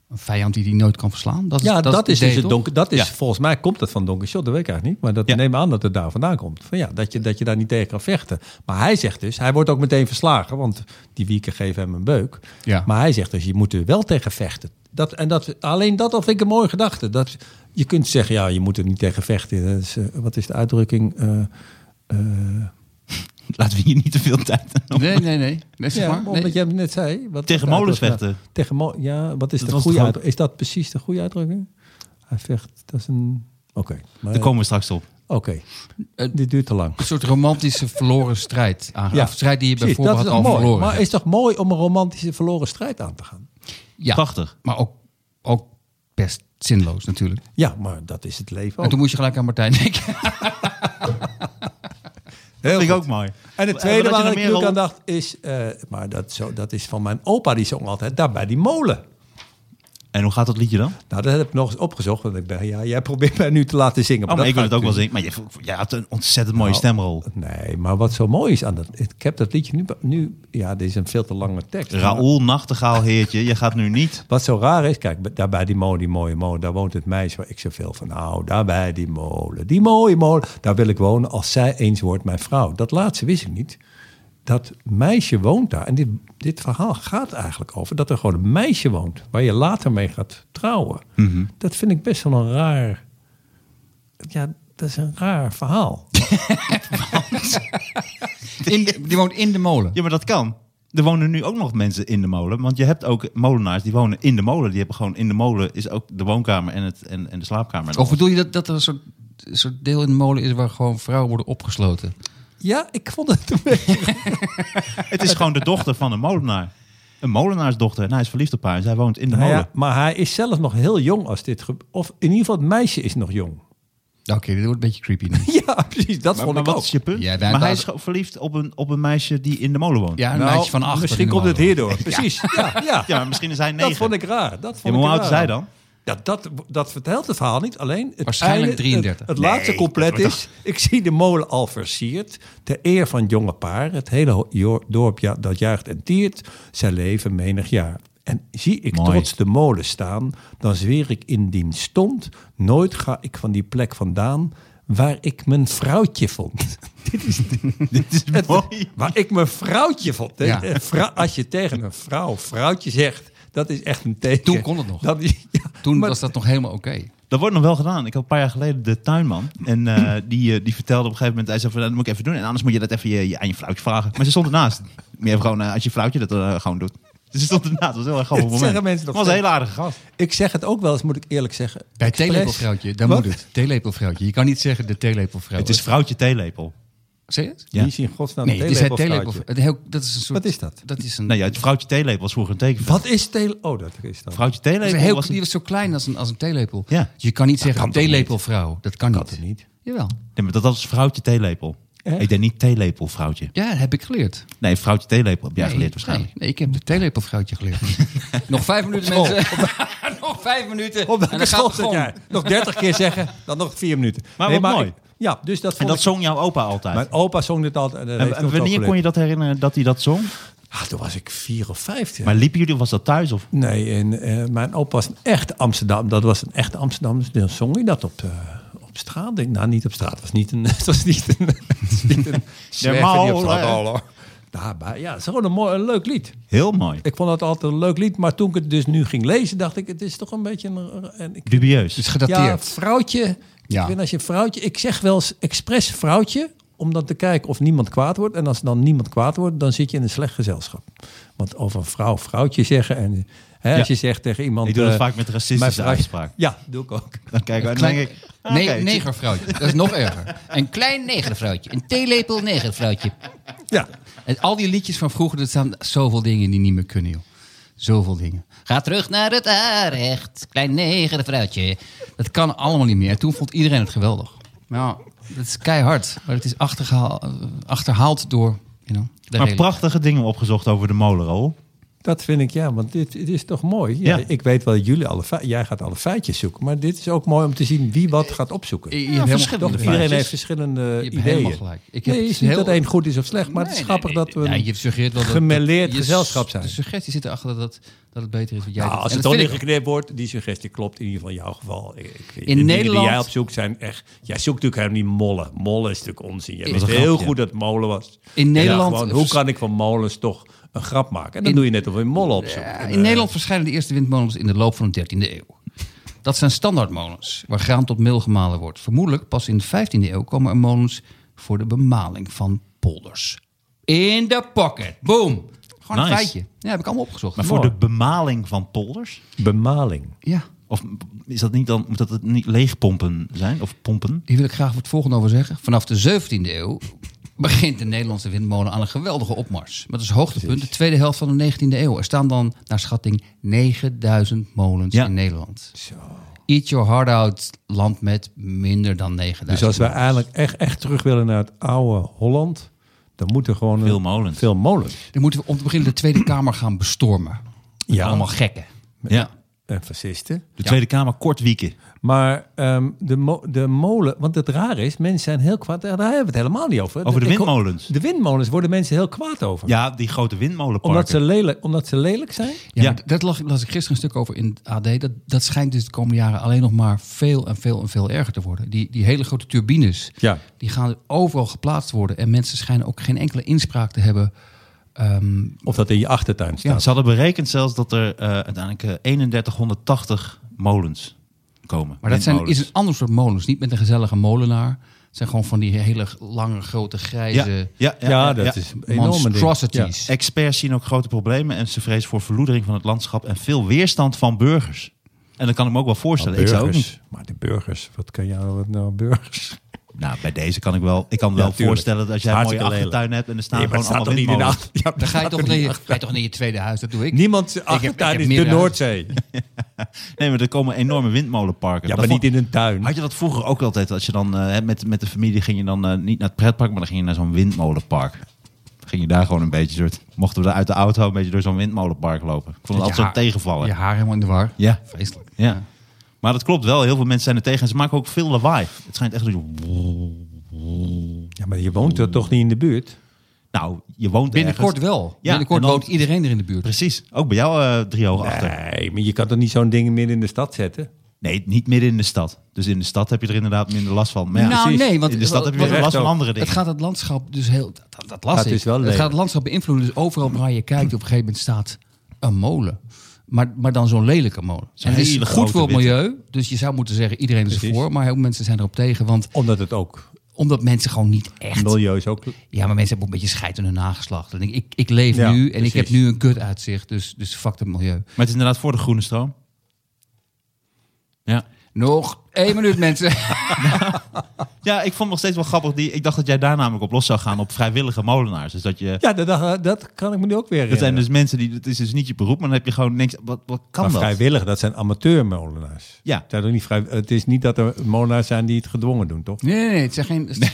[SPEAKER 3] een vijand die die nooit kan verslaan? Dat is,
[SPEAKER 2] ja, dat,
[SPEAKER 3] het
[SPEAKER 2] is
[SPEAKER 3] idee,
[SPEAKER 2] dus het
[SPEAKER 3] toch?
[SPEAKER 2] donker. Dat is
[SPEAKER 1] Ja.
[SPEAKER 2] volgens mij komt dat van Don Quixote, dat weet ik eigenlijk niet. Maar dat
[SPEAKER 1] Ja.
[SPEAKER 2] neem aan dat het daar vandaan komt. Van ja, dat je, dat je daar niet tegen kan vechten. Maar hij zegt dus, hij wordt ook meteen verslagen, want die wieken geven hem een beuk.
[SPEAKER 3] Ja.
[SPEAKER 2] Maar hij zegt dus, je moet er wel tegen vechten. Dat, en dat, alleen dat al vind ik een mooie gedachte. Dat, je kunt zeggen, ja, je moet er niet tegen vechten. Dat is, eh, wat is de uitdrukking? Eh, eh,
[SPEAKER 1] <laughs> Laten we hier niet te veel tijd aan doen.
[SPEAKER 3] Nee, nee, nee. Nee, zeg
[SPEAKER 2] ja,
[SPEAKER 3] maar.
[SPEAKER 2] omdat
[SPEAKER 3] Nee.
[SPEAKER 2] jij hem net zei. Wat,
[SPEAKER 1] Tegen
[SPEAKER 2] wat de
[SPEAKER 1] molens
[SPEAKER 2] uitdrukking-
[SPEAKER 1] vechten.
[SPEAKER 2] Tegen mo- ja, wat is
[SPEAKER 1] Dat
[SPEAKER 2] de
[SPEAKER 1] was
[SPEAKER 2] goede
[SPEAKER 1] toch ook-
[SPEAKER 2] uitdrukking? Is dat precies de goede uitdrukking? Hij vecht, dat is een... Oké.
[SPEAKER 1] <laughs>
[SPEAKER 2] maar-
[SPEAKER 1] Daar komen we straks op.
[SPEAKER 2] Oké,
[SPEAKER 1] Eh,
[SPEAKER 2] dit duurt te lang.
[SPEAKER 3] Een soort romantische verloren strijd. aangaan. Of strijd die je
[SPEAKER 2] precies,
[SPEAKER 3] bijvoorbeeld
[SPEAKER 2] dat is
[SPEAKER 3] al
[SPEAKER 2] toch mooi.
[SPEAKER 3] verloren
[SPEAKER 2] Maar
[SPEAKER 3] hebt.
[SPEAKER 2] is toch mooi om een romantische verloren strijd aan te gaan?
[SPEAKER 3] Ja,
[SPEAKER 1] Prachtig.
[SPEAKER 3] maar ook, ook best zinloos natuurlijk.
[SPEAKER 2] Ja, maar dat is het leven
[SPEAKER 3] En
[SPEAKER 2] ook. <laughs>
[SPEAKER 3] toen moest je gelijk aan Martijn denken.
[SPEAKER 2] Heel
[SPEAKER 1] vind ik
[SPEAKER 2] goed.
[SPEAKER 1] ook mooi.
[SPEAKER 2] En het
[SPEAKER 1] Wat
[SPEAKER 2] tweede
[SPEAKER 1] had je
[SPEAKER 2] waar
[SPEAKER 1] nog
[SPEAKER 2] ik
[SPEAKER 1] meer,
[SPEAKER 2] nu
[SPEAKER 1] Roel?
[SPEAKER 2] aan dacht is, eh, maar dat, zo, dat is van mijn opa, die zong altijd, daar bij die molen.
[SPEAKER 1] En hoe gaat dat liedje dan?
[SPEAKER 2] Nou, dat heb ik nog eens opgezocht, want ik ben, ja, jij probeert <laughs> mij nu te laten zingen.
[SPEAKER 1] Oh, maar
[SPEAKER 2] dat
[SPEAKER 1] ik wil het
[SPEAKER 2] gaat
[SPEAKER 1] ook wel
[SPEAKER 2] natuurlijk
[SPEAKER 1] zingen. Maar je, jij had een ontzettend mooie
[SPEAKER 2] Nou,
[SPEAKER 1] stemrol.
[SPEAKER 2] Nee, maar wat zo mooi is aan dat, ik heb dat liedje nu, nu ja, dit is een veel te lange tekst. Maar
[SPEAKER 1] Raoul Nachtegaal, heertje. Je gaat nu niet...
[SPEAKER 2] Wat zo raar is, kijk, daar bij die molen, die mooie molen, daar woont het meisje waar ik zoveel van hou. Daar bij die molen, die mooie molen, daar wil ik wonen als zij eens wordt mijn vrouw. Dat laatste wist ik niet. Dat meisje woont daar. En dit, dit verhaal gaat eigenlijk over dat er gewoon een meisje woont waar je later mee gaat trouwen. Dat vind ik best wel een raar. Ja, dat is een raar verhaal.
[SPEAKER 3] In de- die woont in de molen.
[SPEAKER 1] Ja, maar dat kan. Er wonen nu ook nog mensen in de molen. Want je hebt ook molenaars die wonen in de molen. Die hebben gewoon in de molen is ook de woonkamer en, het, en, en de slaapkamer.
[SPEAKER 2] Oh.
[SPEAKER 1] En
[SPEAKER 3] Of Oh, bedoel je dat, dat er een soort, een soort deel in de molen is waar gewoon vrouwen worden opgesloten?
[SPEAKER 2] Ja, ik vond het een beetje
[SPEAKER 1] alles. Het is gewoon de dochter van een molenaar. Een molenaarsdochter. En hij is verliefd op haar. En zij woont in de
[SPEAKER 2] Nou
[SPEAKER 1] molen.
[SPEAKER 2] ja, maar hij is zelf nog heel jong als dit. ge- Of in ieder geval, het meisje is nog jong.
[SPEAKER 3] Nou, Oké, dit wordt een beetje creepy nu.
[SPEAKER 2] Ja, precies. Dat vond
[SPEAKER 1] maar
[SPEAKER 2] ik
[SPEAKER 1] wat
[SPEAKER 2] ook.
[SPEAKER 1] is je punt?
[SPEAKER 3] Ja, wij-
[SPEAKER 1] maar hij
[SPEAKER 3] wij-
[SPEAKER 1] is gewoon verliefd op een, op een meisje die in de molen woont.
[SPEAKER 3] Ja, een
[SPEAKER 2] Nou,
[SPEAKER 3] meisje van acht.
[SPEAKER 2] Misschien komt het hierdoor.
[SPEAKER 1] <laughs>
[SPEAKER 2] Precies. Ja, ja.
[SPEAKER 1] Ja, maar misschien is hij negen.
[SPEAKER 2] <laughs> dat vond ik raar. Dat vond
[SPEAKER 1] Ja, maar hoe
[SPEAKER 2] ik
[SPEAKER 1] oud is
[SPEAKER 2] raar.
[SPEAKER 1] hij dan?
[SPEAKER 2] Ja, dat, dat vertelt het verhaal niet. Alleen het
[SPEAKER 3] Waarschijnlijk
[SPEAKER 2] einde-
[SPEAKER 3] 33.
[SPEAKER 2] Het, het laatste compleet is. Ik zie de molen al versierd. Ter eer van het jonge paar. Het hele ho- jo- dorp ja, dat juicht en tiert. Zij leven menig jaar. En zie ik
[SPEAKER 1] Mooi.
[SPEAKER 2] trots de molen staan. Dan zweer ik indien stond. Nooit ga ik van die plek vandaan. Waar ik mijn vrouwtje vond.
[SPEAKER 1] <laughs> Dit is mooi.
[SPEAKER 2] Waar ik mijn vrouwtje vond. hè.
[SPEAKER 3] Oh. Ja.
[SPEAKER 2] <laughs> Eh, vrou- als je tegen een vrouw vrouwtje zegt, dat is echt een teken.
[SPEAKER 3] Toen kon het nog.
[SPEAKER 2] Dat is- ja,
[SPEAKER 3] <laughs> Toen
[SPEAKER 2] maar-
[SPEAKER 3] was
[SPEAKER 2] <laughs>
[SPEAKER 3] dat nog helemaal oké.
[SPEAKER 1] Dat wordt nog wel gedaan. Ik had een paar jaar geleden de tuinman. En eh,
[SPEAKER 2] <clears throat>
[SPEAKER 1] die, eh, die vertelde op een gegeven moment. Hij zei van, "Nou, dat moet ik even doen. En anders moet je dat even je, je- aan je vrouwtje vragen. Maar ze stond ernaast. Meer gewoon eh, als je vrouwtje dat eh, gewoon doet. Dus ze stond ernaast. Dat was een heel erg grappig
[SPEAKER 2] <laughs> Dat
[SPEAKER 1] moment.
[SPEAKER 2] zeggen mensen nog
[SPEAKER 1] dat was een heel
[SPEAKER 2] steeds.
[SPEAKER 1] aardige gast.
[SPEAKER 2] Ik zeg het ook wel eens, moet ik eerlijk zeggen.
[SPEAKER 3] Bij
[SPEAKER 2] Express.
[SPEAKER 3] theelepelvrouwtje, daar
[SPEAKER 2] Wat?
[SPEAKER 3] moet het. Theelepelvrouwtje. Je kan niet zeggen de theelepelvrouw.
[SPEAKER 1] Het is vrouwtje theelepel.
[SPEAKER 3] Zeg je het?
[SPEAKER 1] Ja.
[SPEAKER 2] Die is in godsnaam
[SPEAKER 3] Nee, het is het
[SPEAKER 2] theelepelvrouwtje.
[SPEAKER 3] theelepel. het heel- Dat is een soort.
[SPEAKER 2] Wat is dat?
[SPEAKER 3] Dat is een.
[SPEAKER 1] Nee, Nou ja, het vrouwtje theelepel was vroeger een teken. van-
[SPEAKER 2] Wat is tele... Oh, dat is dat.
[SPEAKER 1] Vrouwtje
[SPEAKER 3] dat is
[SPEAKER 1] theelepel
[SPEAKER 3] een heel,
[SPEAKER 1] was
[SPEAKER 3] die
[SPEAKER 1] een...
[SPEAKER 3] was zo klein als een, als een theelepel. Dus
[SPEAKER 1] Ja.
[SPEAKER 3] Je kan niet zeggen
[SPEAKER 2] kan
[SPEAKER 3] een
[SPEAKER 2] toch niet?
[SPEAKER 3] theelepelvrouw. Dat kan,
[SPEAKER 2] Dat
[SPEAKER 3] niet.
[SPEAKER 2] kan niet.
[SPEAKER 3] Jawel.
[SPEAKER 1] Nee, maar dat, dat was vrouwtje theelepel.
[SPEAKER 2] Echt?
[SPEAKER 1] Ik denk niet theelepel vrouwtje.
[SPEAKER 3] Ja, dat heb ik geleerd.
[SPEAKER 1] Nee, vrouwtje theelepel heb jij
[SPEAKER 3] Nee,
[SPEAKER 1] geleerd waarschijnlijk.
[SPEAKER 3] Nee, nee, ik heb de theelepelvrouwtje
[SPEAKER 2] <laughs>
[SPEAKER 3] geleerd. Nog vijf minuten, mensen. <laughs> Nog vijf
[SPEAKER 2] Op
[SPEAKER 3] minuten. en
[SPEAKER 2] welke
[SPEAKER 3] dan gaat
[SPEAKER 2] school
[SPEAKER 3] het
[SPEAKER 2] zit
[SPEAKER 3] gewoon.
[SPEAKER 2] jij? Nog dertig keer zeggen, dan nog vier minuten.
[SPEAKER 1] Maar wat mooi.
[SPEAKER 2] ik- ja, dus dat
[SPEAKER 1] En
[SPEAKER 2] vond
[SPEAKER 1] dat
[SPEAKER 2] ik-
[SPEAKER 1] zong jouw opa altijd.
[SPEAKER 2] Mijn opa zong dit altijd. En, dat
[SPEAKER 1] en,
[SPEAKER 2] heeft hij
[SPEAKER 1] en
[SPEAKER 2] ons ook
[SPEAKER 1] wanneer kon je
[SPEAKER 2] geleerd.
[SPEAKER 1] dat herinneren dat hij dat zong?
[SPEAKER 2] Ah, toen was ik vier of vijf. ja.
[SPEAKER 1] Maar liepen jullie, was dat thuis? Of?
[SPEAKER 2] Nee, en eh, mijn opa was een echte Amsterdam. Dat was een echte Amsterdam. Dus dan zong hij dat op, eh, op straat. Denk, nou, niet op straat. Het was niet een. <laughs> Het was niet een. Het was niet een zwerver die op straat
[SPEAKER 1] Molen.
[SPEAKER 2] al, hoor. Daarbij, ja, het is gewoon een, mooi, een leuk lied.
[SPEAKER 1] Heel mooi.
[SPEAKER 2] Ik vond dat altijd een leuk lied. Maar toen ik het dus nu ging lezen, dacht ik, het is toch een beetje een. En ik,
[SPEAKER 1] Dubieus.
[SPEAKER 3] Het is
[SPEAKER 2] ja,
[SPEAKER 3] gedateerd.
[SPEAKER 2] vrouwtje.
[SPEAKER 3] Ja.
[SPEAKER 2] Ik, vind als je vrouwtje. ik zeg wel eens expres vrouwtje om dan te kijken of niemand kwaad wordt. En als dan niemand kwaad wordt, dan zit je in een slecht gezelschap. Want over een vrouw vrouwtje zeggen en hè,
[SPEAKER 1] Ja.
[SPEAKER 2] als je zegt tegen iemand...
[SPEAKER 1] Ik doe dat
[SPEAKER 2] eh,
[SPEAKER 1] vaak met racistische
[SPEAKER 2] mijn vrouw-
[SPEAKER 1] uitspraak.
[SPEAKER 2] Ja, doe ik ook.
[SPEAKER 1] Dan kijk ik, en dan
[SPEAKER 3] Klein-
[SPEAKER 1] denk ik... ah,
[SPEAKER 3] ne-
[SPEAKER 1] oké,
[SPEAKER 3] negervrouwtje. Dat is nog erger. Een klein negervrouwtje. Een theelepel negervrouwtje.
[SPEAKER 2] Ja.
[SPEAKER 3] En al die liedjes van vroeger, er staan zoveel dingen die niet meer kunnen, joh. Zoveel dingen. Ga terug naar het aanrecht, klein negervrouwtje. Dat kan allemaal niet meer. En toen vond iedereen het geweldig. Nou, dat is keihard. Maar het is achtergehaal- eh, achterhaald door... You know, de
[SPEAKER 1] Maar
[SPEAKER 3] reden.
[SPEAKER 1] prachtige dingen opgezocht over de molenrol.
[SPEAKER 2] Dat vind ik, ja, want dit, dit is toch mooi. Ja,
[SPEAKER 1] Ja.
[SPEAKER 2] Ik weet wel, dat jullie alle fei- jij gaat alle feitjes zoeken. Maar dit is ook mooi om te zien wie wat gaat opzoeken.
[SPEAKER 3] Je- je hebt helemaal-
[SPEAKER 2] Toch,
[SPEAKER 3] toch,
[SPEAKER 2] iedereen heeft verschillende
[SPEAKER 3] hebt
[SPEAKER 2] ideeën.
[SPEAKER 3] helemaal gelijk. Ik heb dus
[SPEAKER 2] nee, het is
[SPEAKER 3] heel-
[SPEAKER 2] niet dat één goed is of slecht, maar het
[SPEAKER 3] Nee,
[SPEAKER 2] is
[SPEAKER 3] nee,
[SPEAKER 2] grappig
[SPEAKER 3] nee,
[SPEAKER 2] dat we...
[SPEAKER 3] nee. Ja, je suggereert wel dat-
[SPEAKER 2] gemêleerd
[SPEAKER 3] je-
[SPEAKER 2] gezelschap zijn.
[SPEAKER 3] De suggestie zit erachter dat, dat het beter is wat jij
[SPEAKER 2] Nou,
[SPEAKER 3] doet.
[SPEAKER 2] als
[SPEAKER 3] En
[SPEAKER 2] het
[SPEAKER 3] dat
[SPEAKER 2] dan
[SPEAKER 3] vind
[SPEAKER 2] niet
[SPEAKER 3] ik
[SPEAKER 2] geknipt wordt, die suggestie klopt in ieder geval in jouw geval. Ik- ik- de dingen
[SPEAKER 3] Nederland-
[SPEAKER 2] die jij op zoek zijn echt... Jij zoekt natuurlijk helemaal niet mollen. Mollen is natuurlijk onzin. Jij
[SPEAKER 3] In-
[SPEAKER 2] wist
[SPEAKER 1] Dat is een
[SPEAKER 2] heel
[SPEAKER 1] grapje.
[SPEAKER 2] goed dat het molen was.
[SPEAKER 3] In
[SPEAKER 2] Ja,
[SPEAKER 3] Nederland-
[SPEAKER 2] gewoon, hoe kan ik van molens toch een grap maken? En dan
[SPEAKER 3] In-
[SPEAKER 2] doe je net of je mollen opzoekt.
[SPEAKER 3] Ja,
[SPEAKER 2] En,
[SPEAKER 3] in
[SPEAKER 2] eh,
[SPEAKER 3] Nederland verschijnen de eerste windmolens in de loop van de 13e eeuw. Dat zijn standaardmolens, waar graan tot meel gemalen wordt. Vermoedelijk pas in de 15e eeuw komen er molens voor de bemaling van polders. In de pocket. Boom. Gewoon een
[SPEAKER 1] Nice.
[SPEAKER 3] feitje. Ja, heb ik allemaal opgezocht.
[SPEAKER 1] Maar voor
[SPEAKER 2] Mooi.
[SPEAKER 1] de bemaling van polders?
[SPEAKER 2] Bemaling.
[SPEAKER 3] Ja,
[SPEAKER 1] Of is dat niet dan, moet dat het niet leegpompen zijn? Of pompen?
[SPEAKER 3] hier wil ik graag het volgende over zeggen. Vanaf de 17e eeuw begint de Nederlandse windmolen aan een geweldige opmars. Maar dat is hoogtepunt, de tweede helft van de 19e eeuw. Er staan dan, naar schatting, 9000 molens
[SPEAKER 1] Ja.
[SPEAKER 3] in Nederland. Eat Your Heart Out land met minder dan 9000
[SPEAKER 2] Dus als wij
[SPEAKER 3] molens.
[SPEAKER 2] eigenlijk echt, echt terug willen naar het oude Holland, dan moet er gewoon... een-
[SPEAKER 1] Veel molens.
[SPEAKER 2] Veel molens.
[SPEAKER 3] Dan moeten we om te beginnen de Tweede Kamer gaan bestormen.
[SPEAKER 2] Ja.
[SPEAKER 3] Allemaal gekken.
[SPEAKER 1] Ja.
[SPEAKER 2] En eh, fascisten.
[SPEAKER 1] De Tweede Kamer kort wieken.
[SPEAKER 2] Maar ehm, de, mo- de molen, want het raar is, mensen zijn heel kwaad. Daar hebben we het helemaal niet over.
[SPEAKER 1] Over de
[SPEAKER 2] Ik ho-
[SPEAKER 1] windmolens.
[SPEAKER 2] De windmolens worden mensen heel kwaad over.
[SPEAKER 1] Ja, die grote windmolenparken.
[SPEAKER 2] omdat, ze lelijk, omdat ze lelijk zijn.
[SPEAKER 3] Ja,
[SPEAKER 1] Ja.
[SPEAKER 3] maar Dat las, las ik gisteren een stuk over in het AD. Dat, dat schijnt dus de komende jaren alleen nog maar veel en veel en veel erger te worden. Die, die hele grote turbines,
[SPEAKER 2] Ja.
[SPEAKER 3] die gaan overal geplaatst worden. En mensen schijnen ook geen enkele inspraak te hebben. Ehm,
[SPEAKER 2] Of dat in je achtertuin staat.
[SPEAKER 1] Ze hadden berekend zelfs dat er eh, uiteindelijk eh, 3180 molens komen.
[SPEAKER 3] maar dat zijn,
[SPEAKER 1] Windmolens.
[SPEAKER 3] is een ander soort molens. Niet met een gezellige molenaar. Het zijn gewoon van die hele lange grote
[SPEAKER 1] Ja,
[SPEAKER 3] grijze...
[SPEAKER 1] ja, ja, ja,
[SPEAKER 2] Ja,
[SPEAKER 1] ja.
[SPEAKER 2] dat is een enorme ding.
[SPEAKER 3] monstrosities.
[SPEAKER 1] Experts zien ook grote problemen en ze vrezen voor verloedering van het landschap en veel weerstand van burgers. En dat kan ik me ook wel
[SPEAKER 2] Ja.
[SPEAKER 1] voorstellen.
[SPEAKER 2] Nou,
[SPEAKER 1] ik zou ook niet.
[SPEAKER 2] burgers. Maar de burgers, wat kan jou wat nou burgers?
[SPEAKER 1] Nou, bij deze kan ik wel. Ik kan me
[SPEAKER 2] Ja,
[SPEAKER 1] wel
[SPEAKER 2] tuurlijk.
[SPEAKER 1] voorstellen dat als jij een mooie
[SPEAKER 2] Hartstikke lelijk.
[SPEAKER 1] achtertuin hebt en er staan
[SPEAKER 2] Nee, maar
[SPEAKER 1] gewoon
[SPEAKER 2] het staat
[SPEAKER 1] allemaal
[SPEAKER 2] toch niet in de
[SPEAKER 1] windmolens.
[SPEAKER 2] achter- Ja,
[SPEAKER 3] Dan
[SPEAKER 2] het
[SPEAKER 3] ga je,
[SPEAKER 2] staat <laughs>
[SPEAKER 3] toch
[SPEAKER 2] er
[SPEAKER 3] naar
[SPEAKER 2] niet
[SPEAKER 3] je,
[SPEAKER 2] achter-
[SPEAKER 3] ga je toch naar je tweede huis, dat doe ik.
[SPEAKER 2] Niemands
[SPEAKER 3] heb- ik
[SPEAKER 2] achtertuin
[SPEAKER 3] heb
[SPEAKER 2] is de
[SPEAKER 3] meerdere
[SPEAKER 2] Noordzee.
[SPEAKER 1] Nee, maar er komen enorme windmolenparken.
[SPEAKER 2] Ja,
[SPEAKER 1] Dat
[SPEAKER 2] maar niet
[SPEAKER 1] vond-
[SPEAKER 2] in een tuin.
[SPEAKER 1] Had je dat vroeger ook altijd? Als je dan eh, hè, met, met de familie ging je dan eh, niet naar het pretpark, maar dan ging je naar zo'n windmolenpark. Dan Ging je daar gewoon een beetje soort. Mochten we daar uit de auto een beetje door zo'n windmolenpark lopen? Ik vond het
[SPEAKER 3] Dat
[SPEAKER 1] altijd zo'n
[SPEAKER 3] je haar-
[SPEAKER 1] tegenvallen.
[SPEAKER 3] Je
[SPEAKER 1] Ja.
[SPEAKER 3] haar helemaal in de war.
[SPEAKER 1] Ja.
[SPEAKER 3] Vreselijk.
[SPEAKER 1] Maar dat klopt wel. Heel veel mensen zijn er tegen en ze maken ook veel lawaai. Het schijnt echt dat je.
[SPEAKER 2] Ja, maar je woont er toch niet in de buurt?
[SPEAKER 1] Nou, je woont
[SPEAKER 3] Binnenkort
[SPEAKER 1] ergens.
[SPEAKER 3] wel.
[SPEAKER 1] Ja,
[SPEAKER 3] Binnenkort
[SPEAKER 1] en dan-
[SPEAKER 3] woont iedereen er in de buurt.
[SPEAKER 1] Precies. Ook bij jou eh drie ogen achter.
[SPEAKER 2] Nee, maar je kan toch niet zo'n ding midden in de stad zetten?
[SPEAKER 1] Nee, niet midden in de stad. Dus in de stad heb je er inderdaad minder last van. Maar ja,
[SPEAKER 3] nou,
[SPEAKER 2] precies.
[SPEAKER 3] nee, want
[SPEAKER 1] in de stad heb je
[SPEAKER 3] want-
[SPEAKER 1] weer
[SPEAKER 2] Terecht
[SPEAKER 1] last van
[SPEAKER 2] ook.
[SPEAKER 1] andere dingen.
[SPEAKER 3] het gaat het landschap dus heel. Dat, dat, dat las
[SPEAKER 2] Dat
[SPEAKER 3] ik.
[SPEAKER 2] is wel
[SPEAKER 3] het
[SPEAKER 2] lelijk.
[SPEAKER 3] gaat het landschap beïnvloeden. Dus overal waar je kijkt, op een gegeven moment staat een molen. Maar, maar dan zo'n lelijke molen.
[SPEAKER 1] Zo'n
[SPEAKER 3] en het is
[SPEAKER 1] hele
[SPEAKER 3] goed voor het
[SPEAKER 1] grote witte.
[SPEAKER 3] milieu. Dus je zou moeten zeggen, iedereen is
[SPEAKER 2] Precies.
[SPEAKER 3] ervoor. Maar heel veel mensen zijn erop tegen. Want
[SPEAKER 2] Omdat het ook
[SPEAKER 3] omdat mensen gewoon niet echt.
[SPEAKER 2] milieu is ook...
[SPEAKER 3] Ja, maar mensen hebben ook een beetje scheid aan hun nageslacht. En ik, ik, ik leef
[SPEAKER 2] Ja,
[SPEAKER 3] nu en ik
[SPEAKER 2] precies.
[SPEAKER 3] heb nu een kut uitzicht. Dus, dus fuck het milieu.
[SPEAKER 1] Maar het is inderdaad voor de groene stroom. Ja.
[SPEAKER 3] Nog één minuut, mensen.
[SPEAKER 1] Ja, ik vond het nog steeds wel grappig. Die, ik dacht dat jij daar namelijk op los zou gaan op vrijwillige molenaars. Dus dat je...
[SPEAKER 2] Ja, dat, dat, dat kan ik me nu ook weer
[SPEAKER 1] Dat zijn
[SPEAKER 2] herinneren.
[SPEAKER 1] dus mensen die... Het is dus niet je beroep, maar dan heb je gewoon niks... Wat, wat kan
[SPEAKER 2] Maar
[SPEAKER 1] dat?
[SPEAKER 2] vrijwillig, dat zijn amateurmolenaars.
[SPEAKER 1] Ja.
[SPEAKER 2] Zijn toch niet vrij, het is niet dat er molenaars zijn die het gedwongen doen, toch?
[SPEAKER 3] Nee, nee, nee. Het zijn geen...
[SPEAKER 2] Dus je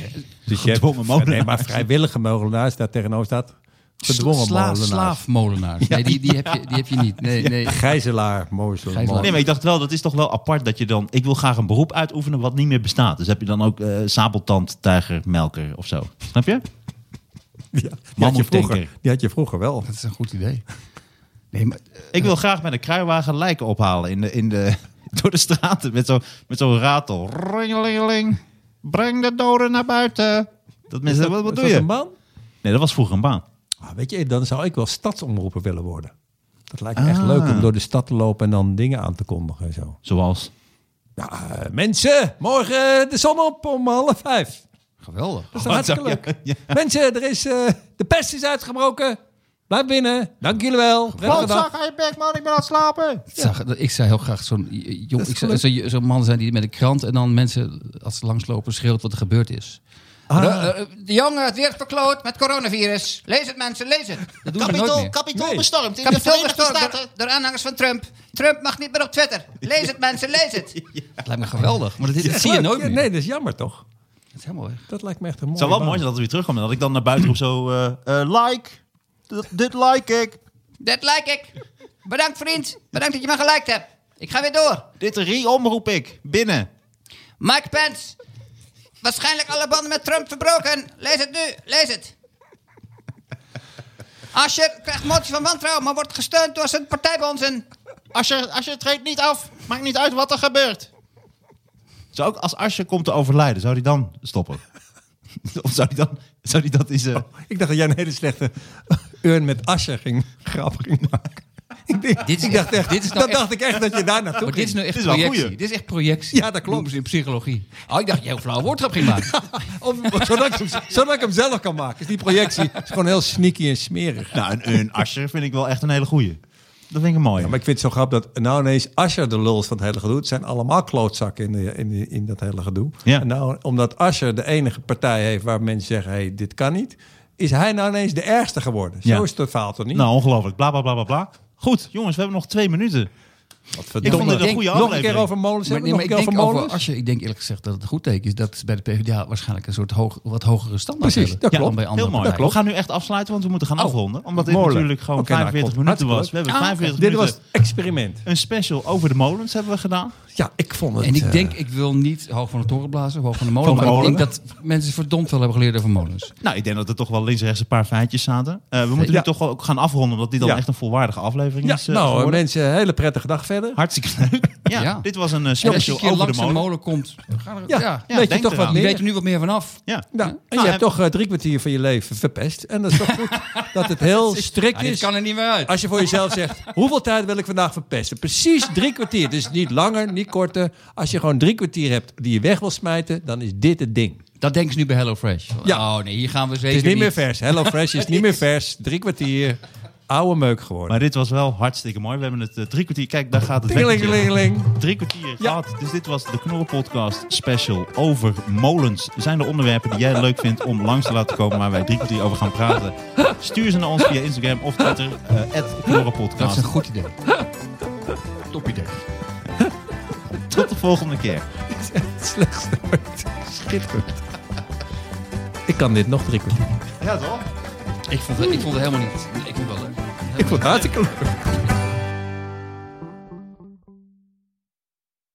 [SPEAKER 2] hebt-
[SPEAKER 1] Gedwongen molenaars.
[SPEAKER 2] Nee, maar vrijwillige molenaars, daar tegenover staat gedwongen
[SPEAKER 3] Sla-
[SPEAKER 2] molenaars.
[SPEAKER 3] Slaafmolenaars. Nee, die, die, heb je, die heb je niet. Nee, nee.
[SPEAKER 2] Gijzelaar, mozel,
[SPEAKER 3] Gijzelaar.
[SPEAKER 1] Nee, maar ik dacht wel, dat is toch wel apart dat je dan... Ik wil graag een beroep uitoefenen wat niet meer bestaat. Dus heb je dan ook eh sabeltand, tijger, melker of zo. Snap je?
[SPEAKER 2] Ja, die, had je
[SPEAKER 1] Mammoetdenker.
[SPEAKER 2] vroeger, die had je vroeger wel.
[SPEAKER 3] Dat is een goed idee. Nee, maar... eh,
[SPEAKER 1] Ik wil graag met een kruiwagen lijken ophalen in de, in de, <laughs> door de straten. Met zo'n met zo'n ratel. Ringelingeling. Breng de doden naar buiten. Dat mensen, wat, wat
[SPEAKER 2] Is
[SPEAKER 1] doe
[SPEAKER 2] dat
[SPEAKER 1] je?
[SPEAKER 2] een baan?
[SPEAKER 1] Nee, dat was vroeger een baan.
[SPEAKER 2] Ah, weet je, dan zou ik wel stadsomroeper willen worden. Dat lijkt me
[SPEAKER 1] Ah.
[SPEAKER 2] echt leuk om door de stad te lopen en dan dingen aan te kondigen en zo.
[SPEAKER 1] Zoals?
[SPEAKER 2] Ja, eh, mensen, morgen de zon op om half vijf.
[SPEAKER 3] Geweldig.
[SPEAKER 2] Dat is toch hartstikke
[SPEAKER 1] zo,
[SPEAKER 2] leuk. Mensen, er is, eh, de pest is uitgebroken. Blijf binnen. Dank jullie wel. Prettige dag.
[SPEAKER 1] ga je bek man, ik ben aan het slapen.
[SPEAKER 3] Ik zag- Ik zou heel graag zo'n eh, jong,
[SPEAKER 2] is
[SPEAKER 3] ik zou-
[SPEAKER 2] geluk.
[SPEAKER 3] zo'n zo'n man zijn die met een krant en dan mensen, als ze langslopen, schreeuwt wat er gebeurd is. Eh, eh, de jongen, het weer verkloot met coronavirus. Lees het mensen, lees het. Dat doen we nooit meer.
[SPEAKER 4] Kapitool
[SPEAKER 2] Nee.
[SPEAKER 4] bestormd in
[SPEAKER 3] Kapitool
[SPEAKER 4] de Verenigde
[SPEAKER 3] bestormd
[SPEAKER 4] Staten.
[SPEAKER 3] door aanhangers van Trump. Trump mag niet meer op Twitter. Lees het mensen, lees het. Het lijkt me geweldig, maar dat, dat zie je
[SPEAKER 2] Leuk.
[SPEAKER 3] nooit
[SPEAKER 2] Ja,
[SPEAKER 3] meer.
[SPEAKER 2] Nee, dat is jammer toch?
[SPEAKER 3] Dat is helemaal weg.
[SPEAKER 2] Dat lijkt me echt een mooi.
[SPEAKER 1] Het zou wel mooi zijn dat het weer terugkomt. en Dat ik dan naar buiten roep zo... eh, eh, like. D- dit like ik.
[SPEAKER 3] Dat like ik. Bedankt vriend, bedankt dat je me geliked hebt. Ik ga weer door.
[SPEAKER 1] Dit re-omroep ik. Binnen.
[SPEAKER 3] Mike Pence. Waarschijnlijk alle banden met Trump verbroken. Lees het nu, lees het. Asscher krijgt motie van wantrouwen, maar wordt gesteund door zijn partijbonzen.
[SPEAKER 4] Als je, als je treedt niet af, maakt niet uit wat er gebeurt.
[SPEAKER 1] Zou ook als Asje komt te overlijden, zou die dan stoppen? <laughs> of zou die dan... Zou die dat is... eh,
[SPEAKER 2] Ik dacht dat jij een hele slechte urn met asje ging grap ging maken. Ik, denk-
[SPEAKER 3] Dit is
[SPEAKER 2] ik dacht
[SPEAKER 3] echt-
[SPEAKER 2] echt,
[SPEAKER 3] dit is nou
[SPEAKER 2] dat
[SPEAKER 3] echt-
[SPEAKER 2] dacht ik echt dat je daar naartoe
[SPEAKER 3] Maar dit is
[SPEAKER 2] ging.
[SPEAKER 3] nou- nu echt
[SPEAKER 1] Dit is wel
[SPEAKER 3] projectie.
[SPEAKER 1] goeie.
[SPEAKER 3] Dit is echt projectie.
[SPEAKER 2] Ja, dat klopt.
[SPEAKER 3] Noemen ze in psychologie. Oh, ik dacht dat je heel flauw woordgrap ging
[SPEAKER 2] <laughs>
[SPEAKER 3] maken.
[SPEAKER 2] Of- zodat, ik hem, zodat ik hem zelf kan maken. Dus die projectie is gewoon heel sneaky en smerig.
[SPEAKER 1] Nou, een, een Asje vind ik wel echt een hele goeie. Dat vind ik een mooie.
[SPEAKER 2] Ja, maar ik vind het zo grappig dat nou ineens Asher de lul is van het hele gedoe. Het zijn allemaal klootzakken in, de, in, de- in dat hele gedoe.
[SPEAKER 1] Ja.
[SPEAKER 2] En nou, omdat Asher de enige partij heeft waar mensen zeggen, hey, dit kan niet. Is hij nou ineens de ergste geworden? Zo
[SPEAKER 1] Ja.
[SPEAKER 2] is het verhaal toch niet?
[SPEAKER 1] Nou, ongelooflijk. Bla, bla, bla, bla, bla. Goed, jongens, we hebben nog twee minuten.
[SPEAKER 2] Wat
[SPEAKER 1] Ik vond
[SPEAKER 2] verdomme.
[SPEAKER 1] dit een
[SPEAKER 3] denk-
[SPEAKER 1] goede
[SPEAKER 2] nog een keer
[SPEAKER 1] aflevering.
[SPEAKER 2] over molens
[SPEAKER 3] Maar,
[SPEAKER 2] hebben?
[SPEAKER 3] nee, maar
[SPEAKER 2] Nog
[SPEAKER 3] ik
[SPEAKER 2] een keer
[SPEAKER 3] denk
[SPEAKER 2] over
[SPEAKER 3] over,
[SPEAKER 2] molens?
[SPEAKER 3] als je, ik denk eerlijk gezegd dat het een goed teken is dat ze bij de PvdA waarschijnlijk een soort hoog, wat hogere standaard
[SPEAKER 2] Precies,
[SPEAKER 3] hebben
[SPEAKER 2] dat klopt.
[SPEAKER 3] dan bij andere
[SPEAKER 1] Heel mooi.
[SPEAKER 3] partijen.
[SPEAKER 1] We gaan nu echt afsluiten, want we moeten gaan
[SPEAKER 3] Oh,
[SPEAKER 1] afronden. Omdat dit
[SPEAKER 2] molen.
[SPEAKER 1] natuurlijk gewoon
[SPEAKER 2] Oké, nou,
[SPEAKER 1] 45
[SPEAKER 2] klopt.
[SPEAKER 1] minuten was. We
[SPEAKER 2] Hartstikke
[SPEAKER 1] hebben
[SPEAKER 3] leuk. Ah,
[SPEAKER 1] 45
[SPEAKER 2] Dit was
[SPEAKER 1] minuten.
[SPEAKER 2] het experiment.
[SPEAKER 1] Een special over de molens hebben we gedaan.
[SPEAKER 2] Ja, ik vond het...
[SPEAKER 3] En ik
[SPEAKER 2] eh,
[SPEAKER 3] denk, ik wil niet hoog van de toren blazen, hoog van de molen.
[SPEAKER 1] Van de
[SPEAKER 3] maar
[SPEAKER 1] molen.
[SPEAKER 3] ik denk dat mensen verdomd veel hebben geleerd over molens.
[SPEAKER 1] Nou, ik denk dat er toch wel links en rechts een paar feitjes zaten. Eh, we moeten
[SPEAKER 2] Ja.
[SPEAKER 1] nu toch wel ook gaan afronden, omdat dit dan
[SPEAKER 2] Ja.
[SPEAKER 1] echt een volwaardige aflevering
[SPEAKER 2] Ja,
[SPEAKER 1] is. eh,
[SPEAKER 2] nou eh,
[SPEAKER 1] geworden.
[SPEAKER 2] mensen, een hele prettige dag verder.
[SPEAKER 1] Hartstikke
[SPEAKER 3] <laughs>
[SPEAKER 1] leuk. Ja,
[SPEAKER 3] Ja.
[SPEAKER 1] dit was een eh,
[SPEAKER 3] Ja, als je
[SPEAKER 1] special
[SPEAKER 3] een keer
[SPEAKER 1] over de
[SPEAKER 3] langs een
[SPEAKER 1] molen.
[SPEAKER 3] molen komt, ga er,
[SPEAKER 2] Ja,
[SPEAKER 3] ja,
[SPEAKER 2] weet je
[SPEAKER 1] denk
[SPEAKER 2] toch wat
[SPEAKER 1] eraan.
[SPEAKER 3] je
[SPEAKER 2] meer.
[SPEAKER 3] weet er nu wat meer vanaf.
[SPEAKER 1] Ja.
[SPEAKER 2] Nou, en je
[SPEAKER 1] Nou,
[SPEAKER 2] hebt
[SPEAKER 1] en-
[SPEAKER 2] toch eh, drie kwartier van je leven verpest. En dat is toch goed dat het heel strikt
[SPEAKER 3] Ja, dit
[SPEAKER 2] is.
[SPEAKER 3] kan er niet meer uit.
[SPEAKER 2] Als je voor jezelf zegt, hoeveel tijd wil ik vandaag verpesten? Precies drie kwartier. Dus niet langer, niet korter. Als je gewoon drie kwartier hebt die je weg wil smijten, dan is dit het ding.
[SPEAKER 3] Dat denken ze nu bij HelloFresh.
[SPEAKER 2] Ja.
[SPEAKER 3] Ja. Oh nee, hier gaan we zeker
[SPEAKER 2] Het is niet meer vers. Hello Fresh is niet meer vers. Drie kwartier. Oude meuk geworden.
[SPEAKER 1] Maar dit was wel hartstikke mooi. We hebben het eh, drie kwartier. Kijk, daar gaat het. wekkertje.
[SPEAKER 2] Tingelingelingeling.
[SPEAKER 1] Drie kwartier gehad. Dus dit was de Knorren Podcast special over molens. Zijn er onderwerpen die jij leuk vindt om langs te laten komen waar wij drie kwartier over gaan praten? Stuur ze naar ons via Instagram of Twitter. eh @knorrenpodcast.
[SPEAKER 3] Dat is een goed idee. Top idee.
[SPEAKER 1] Tot de volgende keer.
[SPEAKER 2] Het <laughs> slechtste ooit. Schitterend. Ik kan dit nog drie kwartier.
[SPEAKER 1] Ja toch?
[SPEAKER 3] Ik vond, het- ik vond het helemaal niet. Ik vond het wel leuk.
[SPEAKER 2] Ik vond het hartstikke leuk.